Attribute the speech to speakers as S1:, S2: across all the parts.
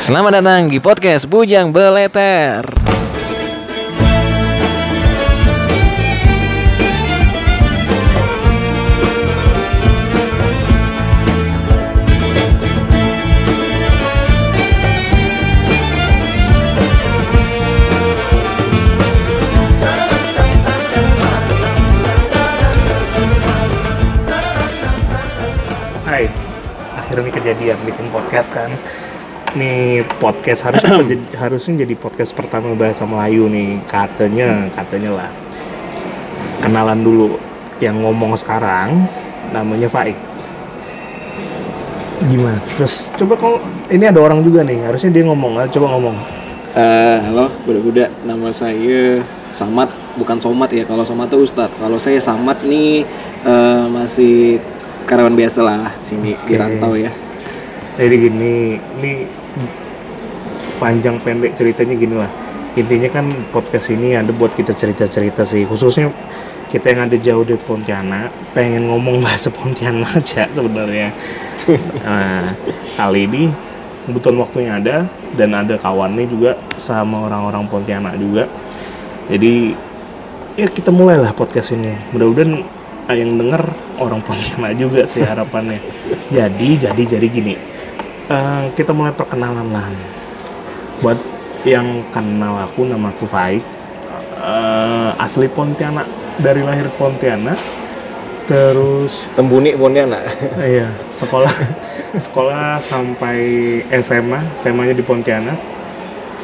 S1: Selamat datang di podcast Bujang Beleter.
S2: Hai, akhirnya kejadian bikin podcast kan. Nih podcast harusnya jadi- harusnya jadi podcast pertama bahasa Melayu nih katanya katanya lah. Kenalan dulu yang ngomong sekarang namanya Faik. Gimana? Terus coba kalau ini ada orang juga nih harusnya dia ngomong. Ayo, Coba ngomong.
S3: Eh, halo, budak-budak. Nama saya Samad, bukan Somad ya. Kalau Somad itu Ustadz. Kalau saya Samad nih eh, masih karyawan biasa lah sini
S2: Oke.
S3: di rantau ya.
S2: Jadi gini, ini panjang pendek ceritanya gini lah. Intinya kan podcast ini ada buat kita cerita-cerita sih. Khususnya kita yang ada jauh dari Pontianak, pengen ngomong bahasa Pontianak aja sebenarnya. Nah, kali ini kebetulan waktunya ada dan ada kawannya juga sama orang-orang Pontianak juga. Jadi ya kita mulailah podcast ini. Mudah-mudahan eh, yang denger orang Pontianak juga sih harapannya. jadi, jadi, jadi gini. Eh, kita mulai perkenalan lah. Buat yang kenal aku, nama aku Faik. Eh, asli Pontianak, dari lahir Pontianak. Terus,
S1: Tembuni Pontianak.
S2: eh, iya, sekolah sekolah sampai SMA, SMA-nya di Pontianak.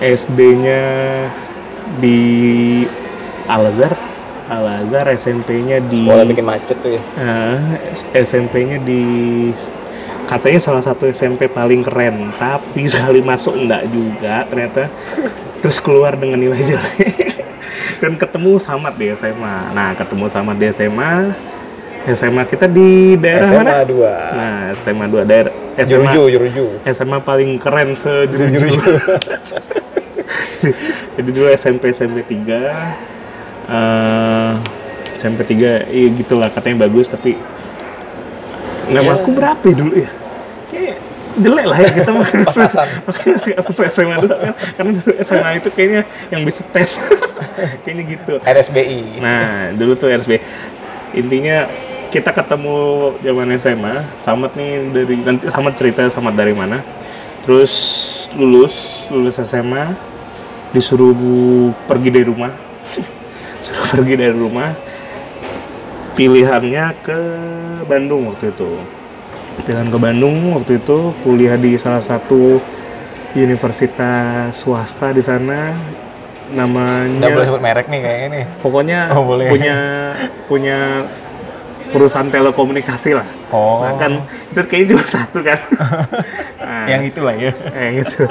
S2: SD-nya di Al-Azhar, Al-Azhar SMP-nya di Ah,
S1: Boleh bikin macet tuh ya.
S2: SMP-nya di katanya salah satu SMP paling keren, tapi sekali masuk enggak juga ternyata terus keluar dengan nilai jelek. Dan ketemu Samad di SMA. Nah, ketemu Samad di SMA. SMA kita di daerah mana?
S1: SMA 2.
S2: Nah, SMA 2 daerah SMA
S1: Juruju, Juruju.
S2: SMA paling keren se Jadi dulu SMP SMP 3 eh SMP 3 iya gitulah katanya bagus tapi nama aku berapa ya dulu ya? Kayaknya jelek lah ya kita makin
S1: Pas-pasan.
S2: makin pas SMA dulu kan karena dulu SMA itu kayaknya yang bisa tes kayaknya gitu
S1: RSBI.
S2: Nah, dulu tuh RSB. Intinya kita ketemu zaman SMA, Samet nih dari nanti Samet cerita Samet dari mana. Terus lulus, lulus SMA disuruh bu- pergi dari rumah. Suruh pergi dari rumah. Pilihannya ke Bandung waktu itu. Pilihan ke Bandung waktu itu kuliah di salah satu universitas swasta di sana namanya
S1: Nggak boleh sebut merek nih kayaknya nih.
S2: pokoknya
S1: Oh, boleh.
S2: punya punya perusahaan telekomunikasi lah.
S1: Oh.
S2: Nah, kan itu kayaknya cuma satu kan. Nah,
S1: Yang itu lah ya.
S2: eh, gitu.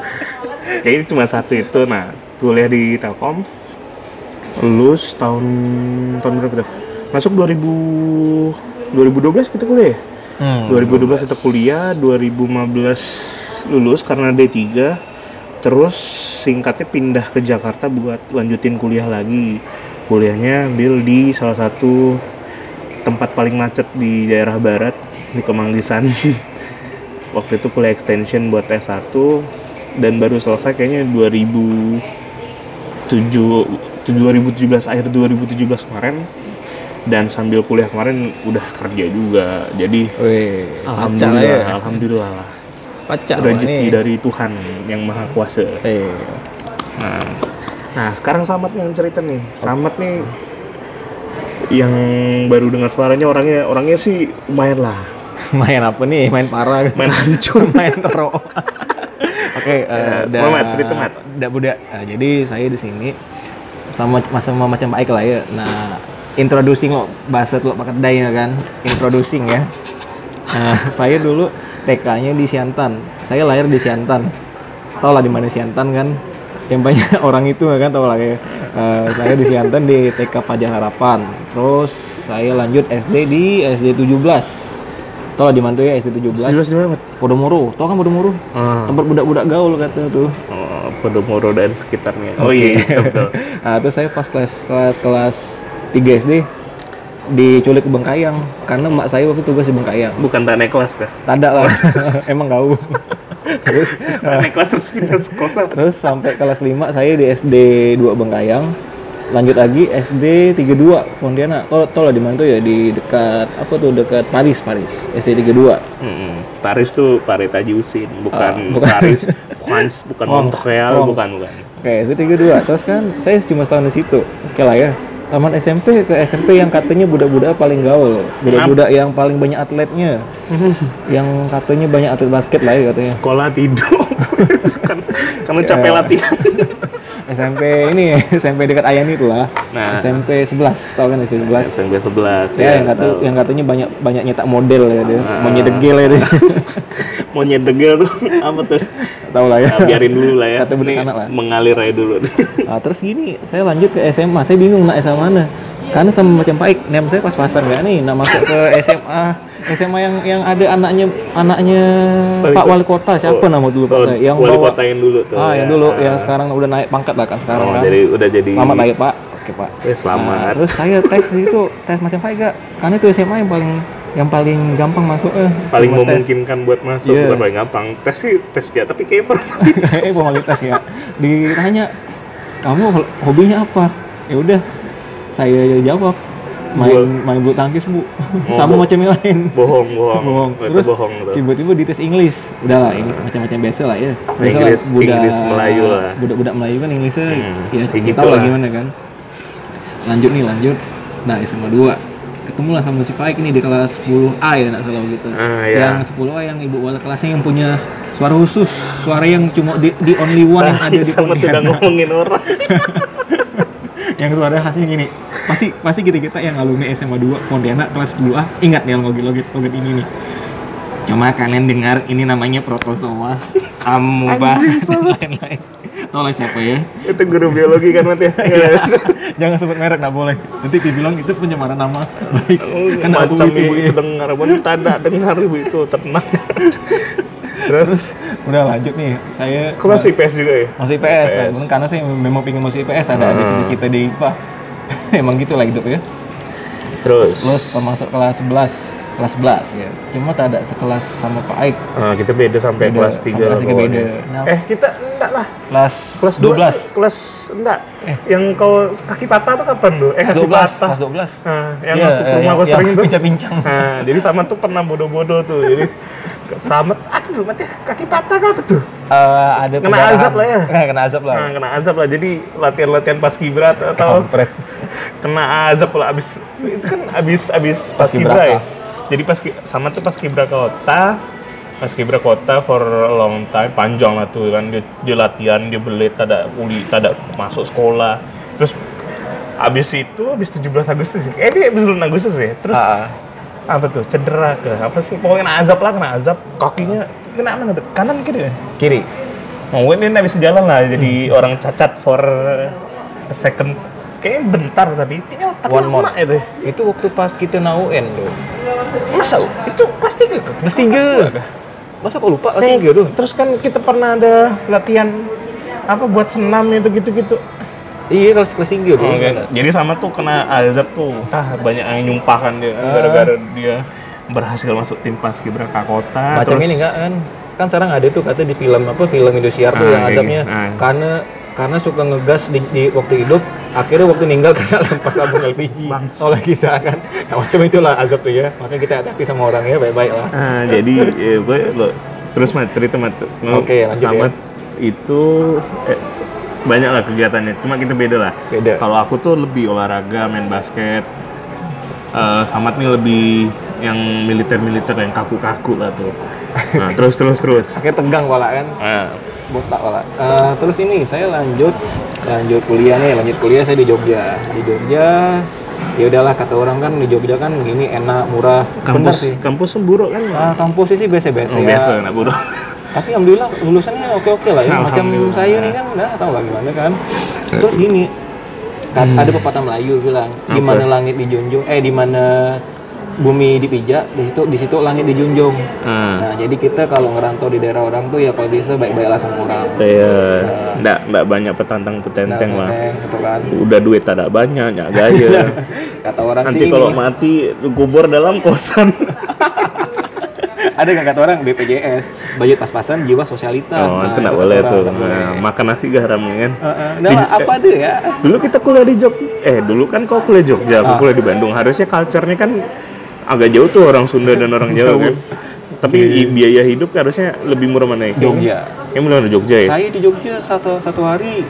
S2: Kayaknya cuma satu itu. Nah, kuliah di Telkom lulus tahun tahun berapa tuh? Masuk 2000 2012 kita kuliah. ya? 2012 kita kuliah, 2015 lulus karena D3. Terus singkatnya pindah ke Jakarta buat lanjutin kuliah lagi. Kuliahnya ambil di salah satu tempat paling macet di daerah barat di Kemanggisan. Waktu itu kuliah extension buat S1 dan baru selesai kayaknya 2007 2017 akhir 2017 kemarin dan sambil kuliah kemarin udah kerja juga. Jadi
S3: Wih,
S2: Alhamdulillah, alhamdulillah lah.
S3: Pacak
S2: Rezeki dari Tuhan yang Maha Kuasa.
S3: Eh,
S2: Nah, nah sekarang Samat nih yang cerita nih. Samat nih yang baru dengar suaranya orangnya orangnya sih lumayan lah.
S3: main apa nih? Main parah. gitu.
S2: Main hancur.
S3: main toro. Oke, eh,
S2: Ya, Muhammad, cerita, Mat.
S3: dah budak. Nah, jadi saya di sini sama sama macam baik lah ya. Nah, introducing lo bahasa lo pakai daya kan. Introducing ya. Nah, saya dulu TK-nya di Siantan. Saya lahir di Siantan. Tau lah di mana Siantan kan? Yang banyak orang itu kan tau lah ya. Eh, saya di Siantan di TK Pajar Harapan. Terus saya lanjut SD di SD 17. Tau lah di mana tuh ya SD 17?
S2: Jelas banget.
S3: Podomoro, tau kan Podomoro?
S2: Ah.
S3: Tempat budak-budak gaul katanya tuh.
S2: Oh, Podomoro dan
S3: Ah,
S2: sekitarnya. Oh iya, itu betul.
S3: Nah, terus saya pas kelas kelas kelas 3 SD diculik ke Bengkayang karena mak saya waktu tugas di Bengkayang.
S2: Bukan tak naik kelas kah?
S3: Tadak lah, emang gaul. terus,
S2: Tak naik kelas terus pindah sekolah.
S3: terus sampai kelas 5 saya di SD 2 Bengkayang. Lanjut lagi SD 32 Pontianak. Tol tol lah di mana tuh ya di dekat apa tuh dekat Paris Paris. SD 32.
S2: Hmm, Paris tuh Paris Taji Usin, bukan,
S3: Ah, bukan. Iya.
S2: Paris, Frans, bukan
S3: Wrong,
S2: Montreal,
S3: wrong.
S2: bukan bukan.
S3: Oke, SD 32. Terus kan saya cuma setahun di situ. Oke lah ya. Taman SMP ke SMP yang katanya budak-budak paling gaul, budak-budak yang paling banyak atletnya, yang katanya banyak atlet basket lah ya katanya.
S2: Sekolah tidur, kan, karena capek
S3: Ya.
S2: latihan.
S3: SMP ini SMP dekat Ayani itulah.
S2: Nah.
S3: SMP 11, tahu kan SMP 11?
S2: SMP 11
S3: Ya, yang, kata,
S2: Iya, tahu.
S3: yang katanya banyak banyak nyetak model ya dia,
S2: Ah.
S3: mau nyedegil ya dia.
S2: mau nyedegel tuh apa tuh
S3: tahu lah ya.
S2: Nah, biarin dulu lah ya
S3: Kata bener
S2: Ini
S3: sana lah.
S2: mengalir aja dulu
S3: Nah, terus gini, saya lanjut ke SMA, saya bingung nak SMA mana. Karena sama macam Paik, nem saya pas-pasan ya nih, nak masuk ke SMA SMA yang yang ada anaknya anaknya
S2: Wali
S3: Pak
S2: kota.
S3: Wali Kota siapa nama dulu Pak
S2: Oh,
S3: saya yang
S2: wali
S3: bawa-
S2: kotain dulu tuh
S3: ah
S2: ya.
S3: yang dulu
S2: Ah.
S3: yang sekarang udah naik pangkat lah kan sekarang
S2: Oh,
S3: kan.
S2: jadi udah jadi
S3: Selamat lah ya Pak. Oke Pak.
S2: Eh, selamat.
S3: Nah, terus saya tes di situ, tes macam apa enggak? Karena itu SMA yang paling yang paling gampang masuk eh.
S2: paling
S3: cuma tes.
S2: memungkinkan buat masuk
S3: Iya.
S2: bukan paling gampang tes sih tes ya tapi kayak formal
S3: eh formalitas ya. Ditanya kamu hobinya apa? Ya udah saya jawab main
S2: Bola.
S3: main bulu tangkis bu sama
S2: bo-
S3: macam yang lain
S2: bohong bohong
S3: bohong
S2: itu
S3: terus
S2: bohong tuh
S3: tiba-tiba di tes Inggris udah lah Inggris macam-macam biasa lah ya Biasa lah,
S2: Inggris- Inggris Melayu lah.
S3: budak-budak Melayu kan Inggrisnya
S2: Hmm,
S3: ya
S2: kayak
S3: kita
S2: gitu
S3: tahu lah
S2: lah.
S3: gimana kan lanjut nih lanjut nah SMA 2 ketemu lah sama si Paik nih di kelas 10A ya nggak salah gitu
S2: Ah, iya.
S3: yang 10A yang ibu wali kelasnya yang punya suara khusus suara yang cuma di, di only one yang ada di
S2: Nah, sama tidak
S3: Pontianak
S2: ngomongin orang
S3: yang suara khasnya gini pasti pasti kita kita yang alumni SMA 2 Pontianak kelas 10 A ingat nih logit logit logit ini nih cuma kalian dengar ini namanya protozoa amuba dan lain-lain Tau lah siapa ya
S2: itu guru biologi kan mati
S3: Iya. jangan sebut merek nggak boleh nanti dibilang itu penyamaran nama baik kan
S2: Oh, iya.
S3: aku
S2: macam ibu
S3: ITE.
S2: itu dengar bukan tidak dengar ibu itu tenang terus
S3: udah lanjut nih saya
S2: kok masih IPS juga ya
S3: masuk IPS,
S2: IPS.
S3: Kan? karena saya memang pingin masuk IPS
S2: Hmm.
S3: ada ada cita-cita di IPA emang gitulah hidup ya
S2: terus
S3: Terus masuk kelas 11 kelas 11 ya cuma tak ada sekelas sama Pak Aik
S2: Ah, kita beda sampai
S3: Beda,
S2: kelas
S3: sampai
S2: 3
S3: kelas tiga beda.
S2: Eh, kita enggak lah.
S3: kelas
S2: Kelas 12. Kelas enggak. Yang kau kaki patah tuh kapan lu? Eh, kaki
S3: 12
S2: patah.
S3: Eh. kelas 12
S2: Nah, yang
S3: Iya,
S2: aku ke
S3: eh,
S2: rumah
S3: yang-
S2: aku sering
S3: yang
S2: tuh.
S3: pincang-pincang.
S2: Nah, jadi sama tuh pernah bodoh-bodoh tuh. Jadi ke- sama aku dulu mati kaki patah apa tuh?
S3: Eh, ada
S2: Kena
S3: pendarahan.
S2: azab lah ya?
S3: Nah, kena azab lah
S2: Nah, kena azab lah. Jadi latihan-latihan pas kibra atau
S3: Kampret.
S2: kena azab lah abis itu kan abis abis pas
S3: Paskibraka.
S2: kibra ya. Jadi pas ki- sama tuh pas kibra kota, pas kibra kota for a long time panjang lah tuh kan dia, dia latihan dia belit ada uli ada masuk sekolah terus abis itu abis 17 Agustus ya. eh dia abis bulan Agustus ya terus
S3: Ah.
S2: apa tuh cedera ke apa sih pokoknya kena azab lah kena azab kakinya kena mana Bet? kanan kiri ya?
S3: kiri
S2: Mungkin ini bisa jalan lah
S3: Hmm.
S2: jadi orang cacat for a second kayaknya bentar tapi tinggal tapi
S3: One
S2: lama
S3: month.
S2: itu
S3: itu waktu pas kita na UN tuh
S2: masa itu kelas tiga kan
S3: kelas 3 masa kok lupa kelas 3 tuh
S2: terus kan kita pernah ada latihan apa buat senam itu gitu-gitu
S3: iya kelas kelas 3 tuh
S2: jadi sama tuh kena azab tuh
S3: Ah.
S2: tah banyak yang nyumpahkan dia gara-gara dia berhasil masuk tim paskibraka kota
S3: macam
S2: Ah, terus-
S3: ini enggak kan kan sekarang ada tuh katanya di film apa film Indosiar tuh
S2: Ah,
S3: yang
S2: kayak
S3: azabnya
S2: gitu. Ah.
S3: karena karena suka ngegas di, di waktu hidup akhirnya waktu ninggal kena lempar tabung LPG
S2: Bangsa.
S3: oleh kita kan nah, macam itulah azab tuh ya makanya kita hati-hati sama orangnya baik-baik lah
S2: Ah, jadi ya, gue lo terus mat cerita mat Mau
S3: Oke, lanjut ya.
S2: selamat itu eh, banyak lah kegiatannya cuma kita beda lah
S3: Beda.
S2: kalau aku tuh lebih olahraga main basket Eh, Samat nih lebih yang militer-militer yang kaku-kaku lah tuh nah, terus terus terus
S3: akhirnya tegang pala kan
S2: Ah,
S3: botak pala Eh, terus ini saya lanjut lanjut kuliah nih lanjut kuliah saya di Jogja di Jogja ya udahlah kata orang kan di Jogja kan gini enak murah Bener
S2: kampus kampus semburuk kan
S3: ah, kampusnya sih biasa-biasa
S2: Oh,
S3: ya
S2: biasa anak buruk
S3: tapi alhamdulillah lulusannya oke-oke lah ya macam
S2: Alhamdulillah. Eh.
S3: saya ini kan nggak tahu lah gimana kan terus gini kan ada pepatah Melayu bilang di
S2: Hmm. Apa?
S3: mana langit dijunjung eh di mana bumi dipijak, di situ di situ langit dijunjung.
S2: Ah.
S3: Nah, jadi kita kalau ngerantau di daerah orang tuh ya kalau bisa baik-baiklah sama orang.
S2: Iya,
S3: Ah.
S2: ndak ndak banyak petantang petenteng lah.
S3: Nah, gitu kan.
S2: Udah duit tak ada banyak, nyak gaya.
S3: Kata orang
S2: Nanti
S3: sih ini-
S2: kalau mati kubur dalam kosan.
S3: ada nggak kata orang BPJS, budget pas-pasan, jiwa sosialita.
S2: oh,
S3: Nah,
S2: itu nggak
S3: kata
S2: boleh
S3: orang,
S2: tuh.
S3: nggak boleh.
S2: Nah, makan nasi garam kan.
S3: Heeh. Nah, apa deh ya?
S2: Dulu kita kuliah di Jog eh dulu kan kau kuliah Jogja,
S3: Ah.
S2: aku kuliah di Bandung. Harusnya culture-nya kan agak jauh tuh orang Sunda dan orang Jawa kan. Tapi i- biaya hidup kan harusnya lebih murah mana ya?
S3: Iya, Jogja.
S2: Yang benar Jogja ya.
S3: Saya di Jogja satu satu hari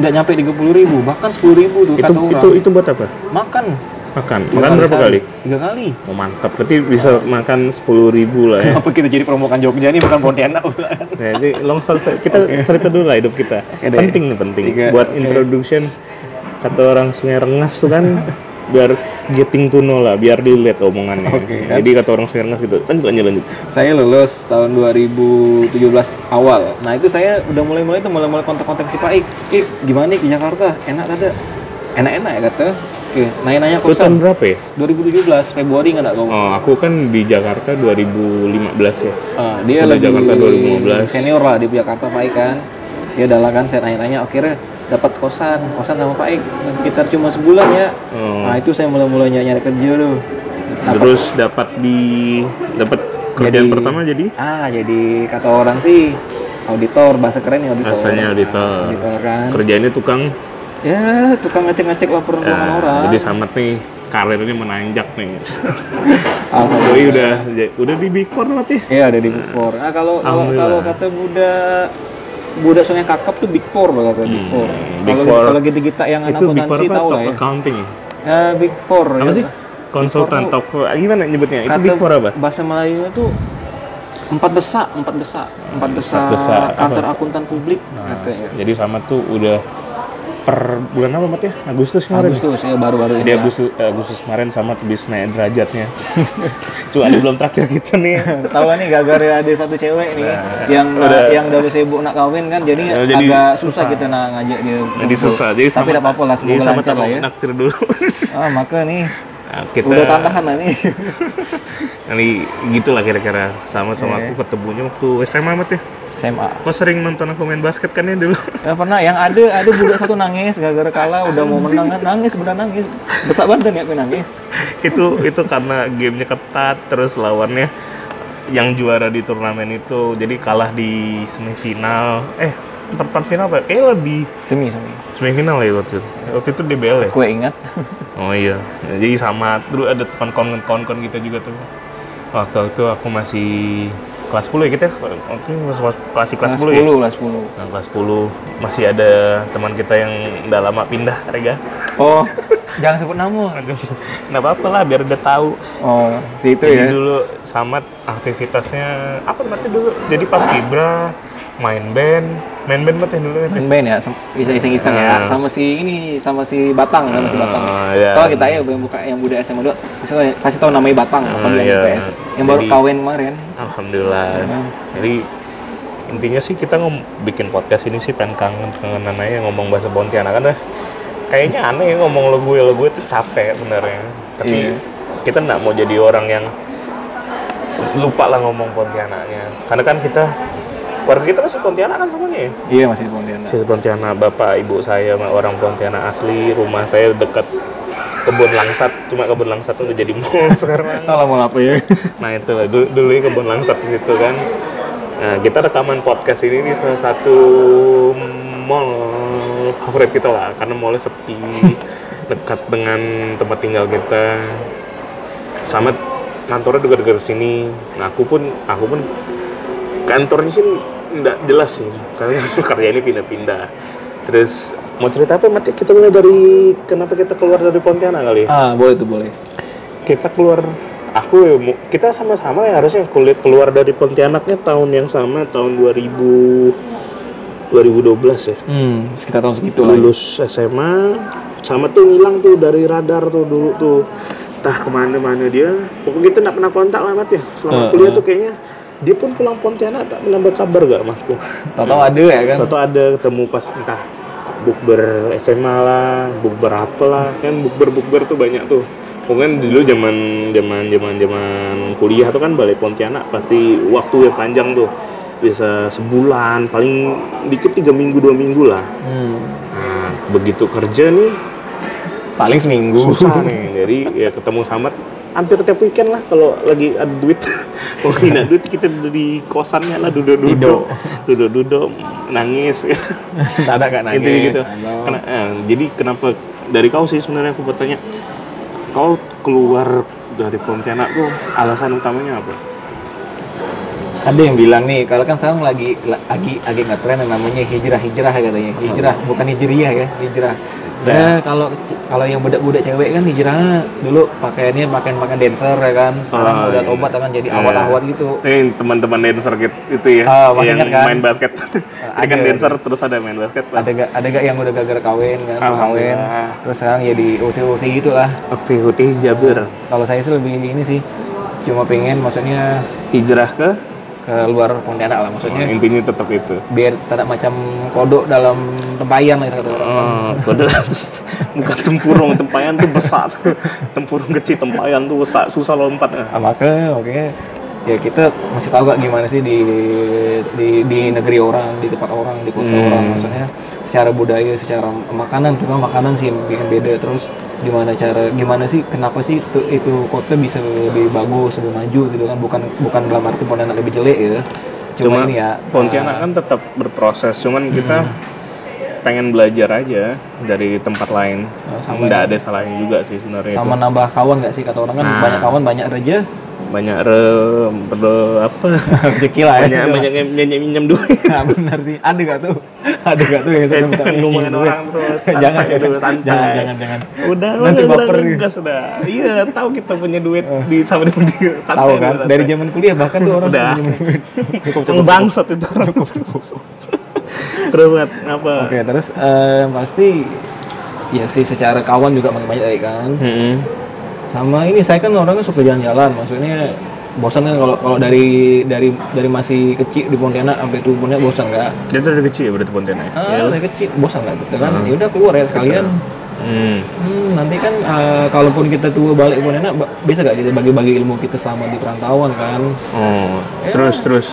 S3: nggak nyampe 30.000 ribu, bahkan 10.000 ribu tuh
S2: Itu
S3: kata orang.
S2: itu itu buat apa?
S3: Makan.
S2: Makan.
S3: Dua
S2: Makan berapa
S3: sehari.
S2: kali?
S3: Tiga kali.
S2: Oh, mantap. Berarti bisa makan 10.000 ribu lah ya.
S3: Apa kita jadi promokan Jogja nih bukan Pontianak? bukan?
S2: Nah, jadi long story short, kita cerita dulu lah hidup kita.
S3: Oke deh.
S2: penting nih penting.
S3: Tiga,
S2: Buat
S3: oke.
S2: introduction kata orang Sungai Rengas tuh kan biar getting to know lah, biar dilihat omongannya.
S3: Oke, kan?
S2: Jadi kata orang Sungai Rengas gitu. Lanjut lanjut lanjut.
S3: saya lulus tahun 2017 awal. Nah itu saya udah mulai-mulai tuh mulai-mulai kontak-kontak si Pak Ik. Ik, gimana nih ke Jakarta? Enak kata? Enak-enak ya kata. Oke, nanya-nanya
S2: Itu tahun
S3: kosan.
S2: berapa ya?
S3: 2017 Februari nggak kau?
S2: Oh, aku kan di Jakarta 2015 ya.
S3: Ah, dia
S2: Udah
S3: lebih
S2: Jakarta 2015.
S3: senior lah di Jakarta Pak Ik kan. Ya udah lah kan saya tanya-tanya akhirnya dapat kosan, kosan sama Pak Ik sekitar cuma sebulan ya.
S2: Oh.
S3: Nah itu saya mulai-mulai nyari kerja tuh. Dapat
S2: Terus dapat di dapat kerjaan
S3: Jadi-
S2: pertama jadi
S3: Ah, jadi kata orang sih auditor bahasa keren ya auditor.
S2: rasanya auditor.
S3: Auditor kan.
S2: Kerjaannya tukang.
S3: Ya, tukang ngecek-ngecek laporan keuangan
S2: Nah,
S3: orang.
S2: jadi samet nih karirnya menanjak nih.
S3: Alhamdulillah.
S2: Doi udah udah di Big Four lah ya.
S3: Iya, ada di Big Four. Nah, kalau kalau kalau
S2: Alhamdulillah.
S3: kata budak budak Sungai Kakap tuh Big Four loh kata Big Four.
S2: Hmm, Big
S3: Kalau
S2: Four.
S3: kalau gitu kita yang anak
S2: Itu Big Four
S3: akuntansi
S2: apa?
S3: tahu
S2: Top
S3: lah ya.
S2: accounting.
S3: Nah, Big Four.
S2: Apa
S3: ya.
S2: sih? Konsultan
S3: tuh-
S2: top four. Ah, Gimana nyebutnya? Itu
S3: Kata
S2: Big Four apa?
S3: Bahasa Melayunya tuh empat besar, empat besar, empat besar,
S2: besar, apa? Nah.
S3: kantor akuntan publik katanya.
S2: Jadi sama tuh udah per bulan apa Mat ya? Agustus kemarin.
S3: Agustus ya baru-baru ini.
S2: Dia
S3: lah.
S2: Agustus eh, Agustus kemarin sama tuh bisa naik derajatnya. Cuma dia belum traktir kita nih.
S3: Tahu lah nih gara-gara ada satu cewek nih yang
S2: udah.
S3: yang udah sibuk nak kawin kan jadi,
S2: Ya, jadi
S3: agak
S2: susah.
S3: susah, kita nak ngajak dia.
S2: Jadi
S3: ngumpul.
S2: susah. Jadi
S3: Tapi tidak apa-apa lah
S2: Jadi
S3: semoga
S2: sama
S3: lancar lah ya.
S2: traktir dulu.
S3: Ah, maka nih
S2: Nah, kita
S3: udah tantangan lah nih.
S2: nanti gitulah kira-kira sama sama aku
S3: Iya.
S2: ketemunya waktu SMA Mat ya.
S3: SMA.
S2: Kau sering nonton aku main basket kan ya dulu?
S3: Ya, pernah yang ada ada budak satu nangis gara-gara kalah udah mau menang kan nangis benar nangis. Besar banget nih aku nangis.
S2: itu itu karena gamenya ketat terus lawannya yang juara di turnamen itu jadi kalah di semifinal eh perempat final apa ya? kayaknya lebih
S3: Semi semi.
S2: semifinal ya waktu itu waktu itu DBL ya
S3: Gue ingat
S2: oh iya jadi sama terus ada kawan-kawan kawan-kawan kita juga tuh waktu itu aku masih kelas 10 ya kita waktu itu masih masih kelas 10 ya
S3: lah 10.
S2: Nah, kelas 10 masih ada teman kita yang udah lama pindah Rega
S3: Oh, jangan sebut nama.
S2: nggak apa-apa lah biar udah tahu
S3: Oh, si itu
S2: Jadi
S3: ya.
S2: dulu Samat aktivitasnya apa namanya dulu? Jadi pas Kibra main band, main band mati dulu itu.
S3: main band ya sem- bisa iseng-iseng ya
S2: Yes.
S3: sama si ini sama si Batang sama si Batang
S2: Ah, iya.
S3: kalau kita ya yang buka yang budak SMA 2 misalnya kasih tahu namanya Batang apa dia
S2: iya.
S3: IPS yang baru
S2: Jadi-
S3: kawin kemarin
S2: Alhamdulillah. Jadi intinya sih kita ngom bikin podcast ini sih pengen kangen kangenan aja ngomong bahasa Pontianak kan dah. kayaknya aneh ya ngomong lo gue lo gue tuh capek sebenarnya tapi
S3: Iya.
S2: kita nggak mau jadi orang yang lupa lah ngomong Pontianaknya karena kan kita keluarga kita masih Pontianak kan semuanya ya
S3: iya masih di Pontianak
S2: Saya Pontianak, bapak ibu saya mah orang Pontianak asli, rumah saya dekat kebun langsat, cuma kebun langsat udah jadi mall sekarang.
S3: Tahu lah mau apa ya
S2: Nah itu lah, dulu, dulu kebun langsat di situ kan. Nah kita rekaman podcast ini di salah satu mall favorit kita lah, karena mallnya sepi, dekat dengan tempat tinggal kita. Sama kantornya juga dekat sini. Nah aku pun, aku pun kantornya sih nggak jelas sih, karena kerja ini pindah-pindah. Terus mau cerita apa mati kita mulai dari kenapa kita keluar dari Pontianak kali? ya?
S3: ah boleh tuh boleh
S2: kita keluar aku ya, mu- kita sama-sama ya harusnya kulit keluar dari Pontianaknya tahun yang sama tahun 2000 2012 ya
S3: hmm sekitar tahun segitu lah
S2: lulus SMA sama tuh ngilang tuh dari radar tuh dulu tuh entah kemana-mana dia pokoknya kita nggak pernah kontak lah Mat ya selama
S3: Eh,
S2: kuliah tuh kayaknya dia pun pulang Pontianak tak pernah berkabar gak masku
S3: tahu ada ya kan
S2: atau ada ketemu pas entah bukber SMA lah bukber apa lah kan bukber bukber tuh banyak tuh mungkin dulu zaman zaman zaman zaman kuliah tuh kan balai Pontianak pasti waktu yang panjang tuh bisa sebulan paling dikit tiga minggu dua minggu lah nah, begitu kerja nih
S3: Paling seminggu.
S2: susah nih jadi ya ketemu Samad hampir tiap weekend lah kalau lagi ada duit kalau lagi ada duit kita dari kosannya lah duduk duduk duduk duduk nangis
S3: Tidak ada kan nangis.
S2: Intinya gitu.
S3: Halo.
S2: Kena- eh, jadi kenapa dari kau sih sebenarnya aku bertanya, kau keluar dari Pontianak tuh alasan utamanya apa?
S3: Ada yang bilang nih, kalau kan sekarang lagi lagi lagi ngetren yang namanya hijrah-hijrah katanya. Hijrah bukan hijriah ya, hijrah. Sebenarnya kalau kalau yang budak-budak cewek kan hijrahnya dulu pakaiannya pakaian-pakaian dancer ya kan. Sekarang
S2: Oh,
S3: udah
S2: iya.
S3: tobat kan jadi
S2: Iya.
S3: awat-awat gitu.
S2: Eh teman-teman dancer gitu- itu ya,
S3: Ah, masih
S2: yang
S3: ingat kan?
S2: main basket.
S3: ada,
S2: Dia kan dancer terus ada main basket.
S3: Ada gak, ada gak yang udah gagal kawin kan? Kawin.
S2: Alhamdulillah.
S3: Terus sekarang jadi uti-uti gitu lah.
S2: Waktu ikuti Jabir
S3: Kalau saya sih lebih ini sih cuma pengen maksudnya
S2: hijrah ke
S3: ke luar Pontianak lah
S2: Ya,
S3: maksudnya
S2: intinya tetap itu.
S3: biar tidak macam kodok dalam tempayan lah kata orang.
S2: Oh, padahal bukan tempurung, tempayan tuh besar. tempurung kecil, tempayan tuh besar, susah lompat. eh.
S3: Ah, maka makanya ya kita masih tahu gak gimana sih di di di negeri orang di tempat orang di kota orang
S2: Hmm.
S3: maksudnya secara budaya secara makanan juga makanan sih yang bikin beda terus gimana cara gimana sih kenapa sih itu, itu kota bisa lebih bagus lebih maju gitu kan bukan bukan dalam arti Pontianak lebih jelek gitu cuma, ini ya Hmm.
S2: Pontianak kan tetap berproses, cuman kita pengen belajar aja dari tempat lain.
S3: Oh, sama- ya.
S2: Nggak ada salahnya juga sih sebenarnya
S3: sama
S2: itu.
S3: nambah kawan gak sih kata orang kan
S2: Nah.
S3: banyak kawan banyak reja
S2: Banyak re, re- apa?
S3: rezeki lah
S2: banyak
S3: ya
S2: banyak yang minjem minjem duit.
S3: nah, benar sih ada gak tuh ada gak tuh yang suka minta
S2: Jangan ngomongin
S3: duit?
S2: orang terus.
S3: jangan
S2: santai dulu,
S3: jangan
S2: santai.
S3: jangan jangan, jangan.
S2: Udah,
S3: Nanti
S2: udah,
S3: baper. Eh.
S2: udah, gas udah. Iya, tahu kita punya duit di sama dengan dia. Santai
S3: tahu
S2: dulu,
S3: kan
S2: santai.
S3: dari zaman kuliah bahkan tuh orang
S2: Udah.
S3: suka minjem duit. cukup
S2: Yang bangsat itu orang. Terus Mat, apa?
S3: oke terus eh, pasti ya sih secara kawan juga makin banyak ya kan
S2: Mm-mm.
S3: sama ini saya kan orangnya suka jalan-jalan maksudnya bosan kan kalau kalau dari dari dari masih kecil di Pontianak sampai tuh Pontianak bosan nggak
S2: Dia tuh dari kecil ya berarti Pontianak. ya?
S3: ah dari kecil bosan nggak gitu
S2: Nah.
S3: kan ya udah keluar ya sekalian
S2: Hmm.
S3: Hmm, nanti kan eh, kalaupun kita tua balik ke Pontianak ba- bisa gak kita bagi-bagi ilmu kita selama di perantauan kan
S2: Oh, terus terus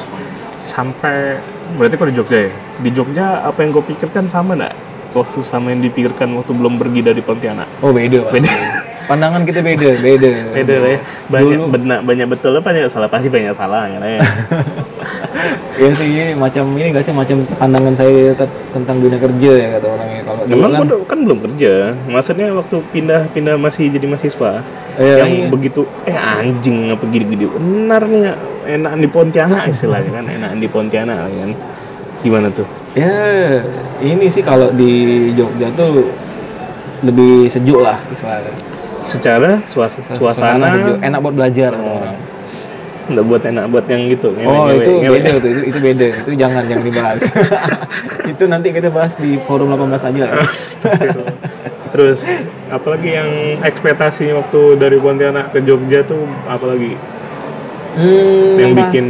S2: sampai berarti kau di Jogja ya? Di Jogja apa yang kau pikirkan sama nggak? Waktu sama yang dipikirkan waktu belum pergi dari Pontianak.
S3: oh beda pasti. pandangan kita beda beda
S2: Beda lah ya. Banyak benar banyak betul apa banyak salah pasti banyak salah ya. lah ya.
S3: ya sih ini macam ini gak sih macam pandangan saya te- tentang dunia kerja ya kata orangnya kalau dulu
S2: Emang
S3: kan
S2: kau kan belum kerja. Maksudnya waktu pindah-pindah masih jadi mahasiswa.
S3: Iya,
S2: yang begitu eh anjing apa gini-gini. Benar nih enakan di Pontianak istilahnya kan enakan di Pontianak kan. Gimana tuh?
S3: ya ini sih kalau di Jogja tuh lebih sejuk lah istilahnya
S2: Secara suas-
S3: Suasana
S2: suasana
S3: sejuk enak buat belajar kata orang.
S2: Nggak buat enak buat yang gitu.
S3: Oh
S2: ngewe-ngewe,
S3: itu
S2: ngewe.
S3: beda tuh, itu, itu beda, itu jangan jangan dibahas. itu nanti kita bahas di forum 18 aja lah. ya.
S2: Terus apalagi yang ekspektasi waktu dari Pontianak ke Jogja tuh apalagi
S3: Hmm,
S2: yang
S3: Mas.
S2: bikin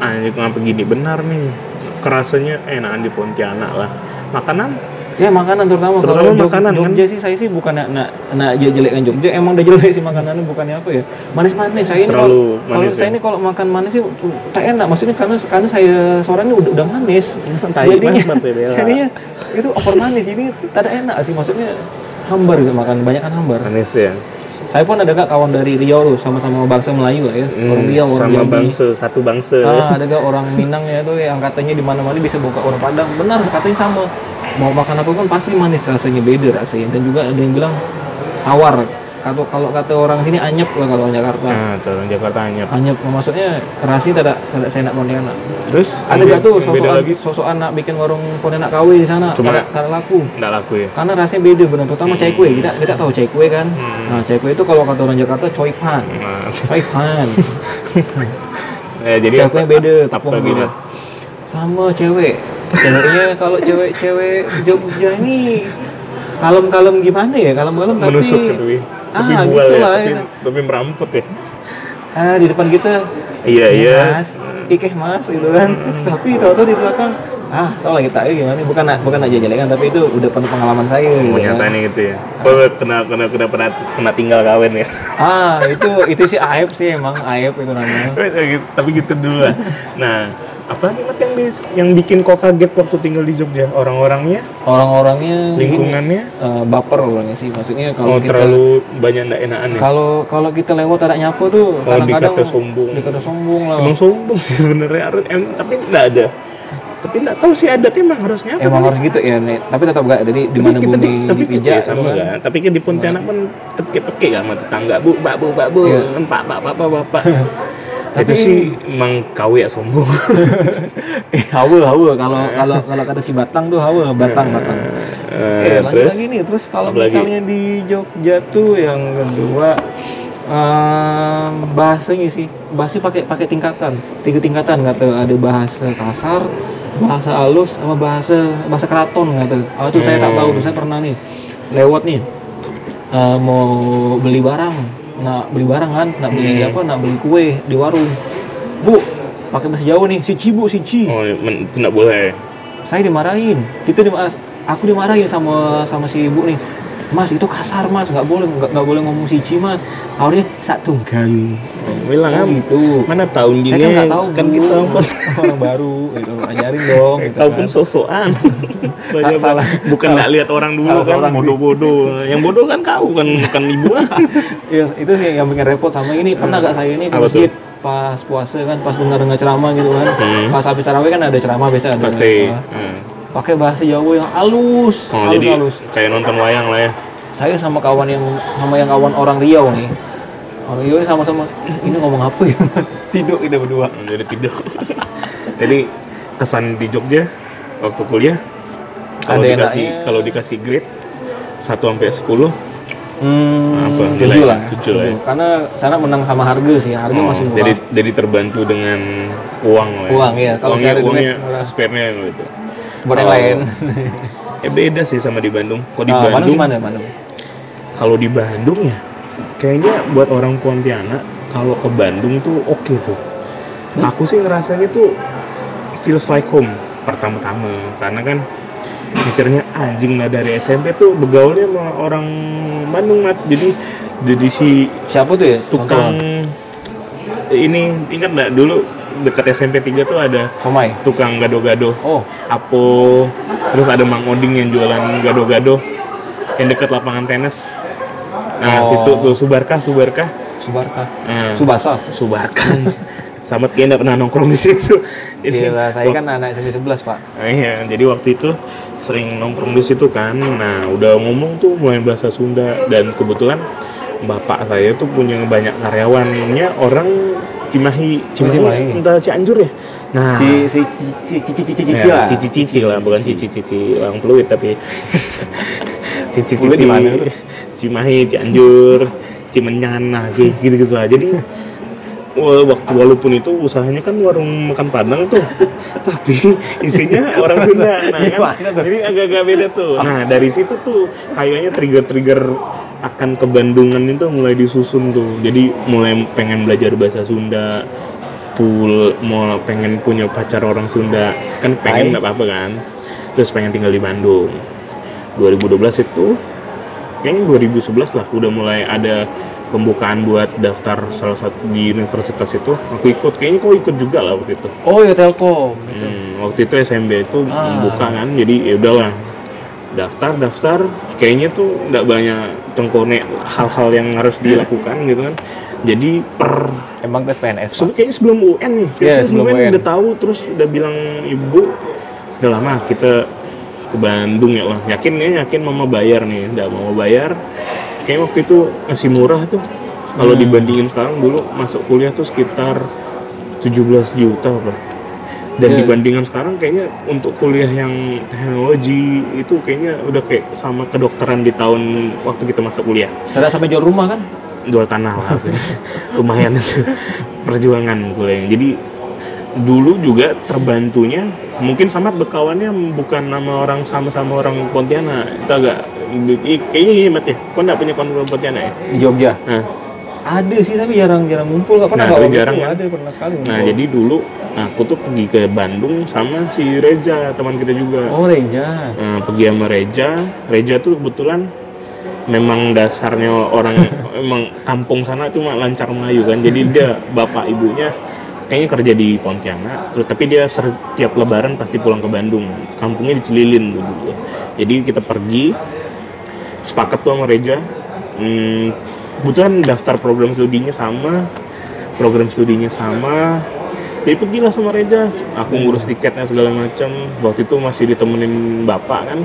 S2: anjing ngapa gini benar nih. Kerasanya enakan di Pontianak lah. Makanan
S3: ya makanan terutama
S2: Terutama
S3: Jog-
S2: makanan, kan?
S3: Jogja sih saya sih bukan nak nak nak jelek-jelekan Jogja emang udah jelek sih makanannya bukannya apa ya manis-manis saya ini
S2: Terlalu
S3: kalau- kalau
S2: manis,
S3: saya
S2: ya?
S3: ini kalau makan manis sih tuh, tak enak maksudnya karena karena saya suaranya udah udah manis
S2: Tai banget ya, Bella.
S3: jadinya itu over manis ini tak ada enak sih maksudnya hambar gitu makan banyak kan hambar
S2: manis ya.
S3: saya pun ada gak kawan dari Riau tuh sama-sama bangsa Melayu lah ya orang Riau orang
S2: Hmm, sama
S3: Jambi.
S2: bangsa satu bangsa.
S3: Ah, ada gak orang Minang ya tuh yang katanya di mana-mana bisa buka orang Padang. Benar, katanya sama. Mau makan apa pun pasti manis rasanya beda rasanya. Dan juga ada yang bilang tawar. Kalau kalau kata orang sini anyep lah kalau orang Jakarta.
S2: Nah, tuh orang Jakarta anyep.
S3: Anyep maksudnya rasanya tidak tidak seenak Pontianak.
S2: Terus
S3: Ada
S2: yang
S3: gak tuh
S2: be- yang
S3: sosok
S2: beda lagi
S3: sosok anak bikin warung Pontianak KW di sana?
S2: Cuma- ya.
S3: Tidak- tidak laku.
S2: enggak laku ya.
S3: Karena rasanya beda benar, terutama cai kue. Kita kita tahu cai kue kan.
S2: Hmm.
S3: Nah, cai kue itu kalau kata orang Jakarta coy pan.
S2: Nah,
S3: Coy pan.
S2: eh, jadi
S3: Cakwe beda, tepung
S2: apa gitu.
S3: merah. Sama cewek. Ceweknya kalau cewek-cewek Jogja ini kalem-kalem gimana ya? Kalem-kalem tapi
S2: menusuk gitu ya.
S3: Ah,
S2: Tapi bual ya,
S3: gitulah,
S2: tapi,
S3: ya.
S2: tapi meramput ya.
S3: Ah, di depan kita
S2: Iya,
S3: "Nih,
S2: iya. Hmm.
S3: Mas, ikeh Mas gitu kan. tapi tahu-tahu di belakang ah tau lagi tak gimana bukan bukan aja jelekan tapi itu udah penuh pengalaman saya gitu
S2: Mau
S3: kan.
S2: nyatanya gitu ya. Kalau kena kena kena kena kena tinggal kawin ya.
S3: ah itu itu sih aib sih emang aib itu namanya
S2: Tapi gitu dulu lah. Nah, apa nih Mat, yang bis- yang bikin kok kaget waktu tinggal di Jogja? Orang-orangnya,
S3: orang-orangnya gini,
S2: lingkungannya,
S3: eh, baper orangnya sih maksudnya
S2: kalau
S3: kalau kita
S2: terlalu banyak ndak enakan ya.
S3: kalau kalau kita lewat ada nyapu tuh
S2: Kalau
S3: kadang-kadang
S2: dikata sombong.
S3: dikata sombong lah
S2: Emang sombong sih sebenarnya harus em- tapi ndak ada. Tapi ndak tahu sih adatnya emang harusnya apa.
S3: emang
S2: kan?
S3: harus gitu ya nih tapi tetap gak jadi di
S2: Tapi
S3: mana
S2: kita
S3: bumi
S2: di, tapi kita
S3: dipijak
S2: ya, sama
S3: gitu kan.
S2: kan. Tapi kan di Pontianak pun tetep kepeke kan sama tetangga. Bu, mbak, bu, mbak, bu,
S3: Iya.
S2: empat, pak, pak, pak, bapak.
S3: Tapi-
S2: Itu sih emang kau ya sombong.
S3: hawa hawa kalau kalau kalau kata si Batang tuh hawa batang batang
S2: Eh,
S3: Eh, lanjut lagi nih terus kalau
S2: apa lagi?
S3: misalnya di Jogja tuh yang kedua em, bahasanya sih bahasa pakai pakai tingkatan tiga tingkatan kata ada bahasa kasar bahasa halus sama bahasa bahasa keraton kata ah tuh saya tak tahu tuh saya pernah nih lewat nih eh, mau beli barang nak beli barang kan nak beli
S2: Iya.
S3: apa nak beli kue di warung bu pakai bahasa Jawa nih si bu si
S2: Oh, men- itu nggak boleh.
S3: saya dimarahin kita dima aku dimarahin sama sama si ibu nih mas itu kasar mas nggak boleh nggak nggak boleh ngomong sici mas awalnya satu gayu
S2: Bilang
S3: oh,
S2: kan,
S3: gitu
S2: mana tahun gini
S3: saya kan nggak tahu
S2: kan
S3: Bu. Oh,
S2: kita pun
S3: orang baru gitu ajarin dong gitu
S2: kau
S3: kan.
S2: pun sosokan. Banyak
S3: Salah-
S2: bukan nggak lihat orang dulu
S3: salah
S2: kan
S3: orang sih.
S2: bodoh-bodoh. Yang bodoh kan kau kan bukan ibu.
S3: Iya, itu sih yang bikin repot sama ini pernah nggak saya ini ke
S2: Apa tuh?
S3: masjid pas puasa kan pas dengar dengar ceramah gitu kan
S2: Hmm.
S3: pas habis tarawih kan ada ceramah biasa ada
S2: Pasti.
S3: ceramah.
S2: Hmm.
S3: pakai bahasa Jawa yang halus
S2: Oh,
S3: halus
S2: jadi
S3: halus
S2: kayak nonton wayang lah ya.
S3: saya sama kawan yang sama yang kawan orang Riau nih orang Riau ini sama-sama "Ih, ini ngomong apa ya tidur kita berdua
S2: Jadi tidur. jadi kesan di Jogja waktu kuliah kalau
S3: Ada
S2: dikasih
S3: enaknya.
S2: kalau dikasih grade 1 sampai 10
S3: hmm,
S2: Apa,
S3: tujuh
S2: nilai?
S3: lah
S2: Tujuh lah ya.
S3: Tujuh. karena sana menang sama harga sih harga
S2: Oh,
S3: masih murah
S2: jadi jadi terbantu dengan uang lah. ya.
S3: Uang, iya. Kalau
S2: uangnya
S3: cari duit,
S2: uangnya
S3: murah.
S2: spare-nya gitu.
S3: buat
S2: Oh.
S3: yang lain
S2: Eh beda sih sama di Bandung. Kalau di
S3: Ah, Bandung
S2: Bandung,
S3: gimana Bandung
S2: kalau di Bandung ya kayaknya buat orang Pontianak kalau ke Bandung tuh oke tuh. Aku sih ngerasanya tuh feels like home pertama-tama karena kan mikirnya anjing lah dari SMP tuh begaulnya sama orang Bandung mat jadi jadi si
S3: siapa tuh ya
S2: tukang
S3: Contoh.
S2: ini ingat nggak dulu dekat SMP 3 tuh ada
S3: Komai
S2: tukang gado-gado
S3: oh
S2: Apo terus ada Mang Oding yang jualan gado-gado yang dekat lapangan tenis nah
S3: Oh.
S2: situ tuh Subarkah Subarkah
S3: Subarka
S2: nah,
S3: Subasa
S2: Subarkah Samet kayaknya nggak pernah nongkrong di situ jadi
S3: Gila, saya
S2: wak-
S3: kan anak SMP 11 pak
S2: Nah, iya, jadi waktu itu sering nongkrong di situ kan. Nah, udah ngomong tuh mulai bahasa Sunda dan kebetulan bapak saya tuh punya banyak karyawannya orang Cimahi, Cimahi,
S3: Oh, Cimahi.
S2: entah Cianjur ya. Nah,
S3: si si si si si si si
S2: Ya,
S3: lah
S2: cici-cici lah, bukan cici-cici orang peluit tapi
S3: Peluit
S2: cici-cici
S3: di mana tuh?
S2: Cimahi, Cianjur, Cimenyan, nah kayak gitu-gitu lah. Jadi wa- waktu walaupun itu usahanya kan warung makan padang tuh, tapi isinya orang Sunda. Nah, kan,
S3: Gimana tuh?
S2: jadi agak-agak beda tuh. Nah dari situ tuh kayaknya trigger-trigger akan ke Bandungan itu mulai disusun tuh. Jadi mulai pengen belajar bahasa Sunda, pul mau pengen punya pacar orang Sunda kan pengen nggak apa-apa kan terus pengen tinggal di Bandung 2012 itu kayaknya 2011 lah udah mulai ada pembukaan buat daftar salah satu di universitas itu aku ikut kayaknya kau ikut juga lah waktu itu
S3: oh ya Telkom
S2: Hmm, waktu itu SMB itu
S3: Ah.
S2: membuka kan jadi ya udahlah daftar daftar kayaknya tuh nggak banyak tengkonek hal-hal yang harus dilakukan gitu kan jadi per
S3: emang tes PNS Pak?
S2: Sebe- kayaknya sebelum UN nih. Kayaknya
S3: Iya, sebelum UN.
S2: udah tahu terus udah bilang ibu udah lama kita ke Bandung ya lah. Yakin ya yakin mama bayar nih. Udah mama bayar. Kayaknya waktu itu masih murah tuh. Kalau
S3: Hmm.
S2: dibandingin sekarang dulu masuk kuliah tuh sekitar 17 juta apa. Dan
S3: Iya.
S2: dibandingkan sekarang kayaknya untuk kuliah yang teknologi itu kayaknya udah kayak sama kedokteran di tahun waktu kita masuk kuliah
S3: Ada sampai jual rumah kan?
S2: jual tanah lah lumayan itu perjuangan kuliah jadi dulu juga terbantunya mungkin sama bekawannya bukan nama orang sama-sama orang Pontianak itu agak i- kayaknya gini Mat ya kau nggak punya kawan orang Pontianak ya
S3: Di Jogja.
S2: nah
S3: Ada sih tapi jarang-jarang ngumpul. Gak pernah
S2: Nah,
S3: kalau
S2: tapi
S3: ngumpul,
S2: jarang kan?
S3: Ada pernah sekali.
S2: Nah,
S3: ngumpul.
S2: jadi dulu nah, aku tuh pergi ke Bandung sama si Reja, teman kita juga.
S3: Oh Reja.
S2: Nah, pergi sama Reja. Reja tuh kebetulan memang dasarnya orang emang kampung sana tuh mah lancar Melayu kan. Jadi dia bapak ibunya kayaknya kerja di Pontianak, terus- tapi dia setiap lebaran pasti pulang ke Bandung. Kampungnya di Cililin tuh dulu. Jadi kita pergi sepakat tuh sama Reja. Hmm, kebetulan daftar program studinya sama, program studinya sama. Tapi pergilah sama Reja. Aku ngurus tiketnya segala macam. Waktu itu masih ditemenin bapak kan.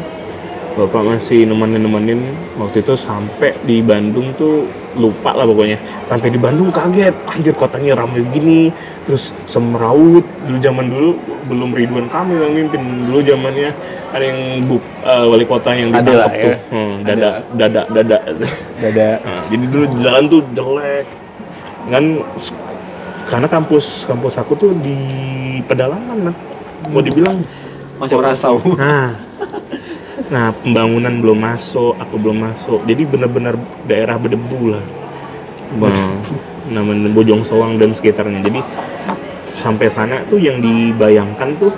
S2: Bapak masih nemenin-nemenin. Waktu itu sampai di Bandung tuh lupa lah pokoknya. Sampai di Bandung kaget, anjir kotanya ramai gini. Terus semeraut. Dulu zaman dulu belum Ridwan Kamil yang mimpin. Dulu zamannya ada yang bu, eh, wali kota yang
S3: Ada lah
S2: ditangkap tuh.
S3: ya.
S2: Hmm, dada, dada, dada.
S3: Ada.
S2: Nah, jadi dulu jalan tuh jelek. Kan s- karena kampus kampus aku tuh di pedalaman lah. Mau dibilang
S3: Macam rasau.
S2: nah nah pembangunan belum masuk apa belum masuk. Jadi benar-benar daerah berdebu lah.
S3: Hmm.
S2: Nah, namanya Bojong Soang dan sekitarnya. Jadi sampai sana tuh yang dibayangkan tuh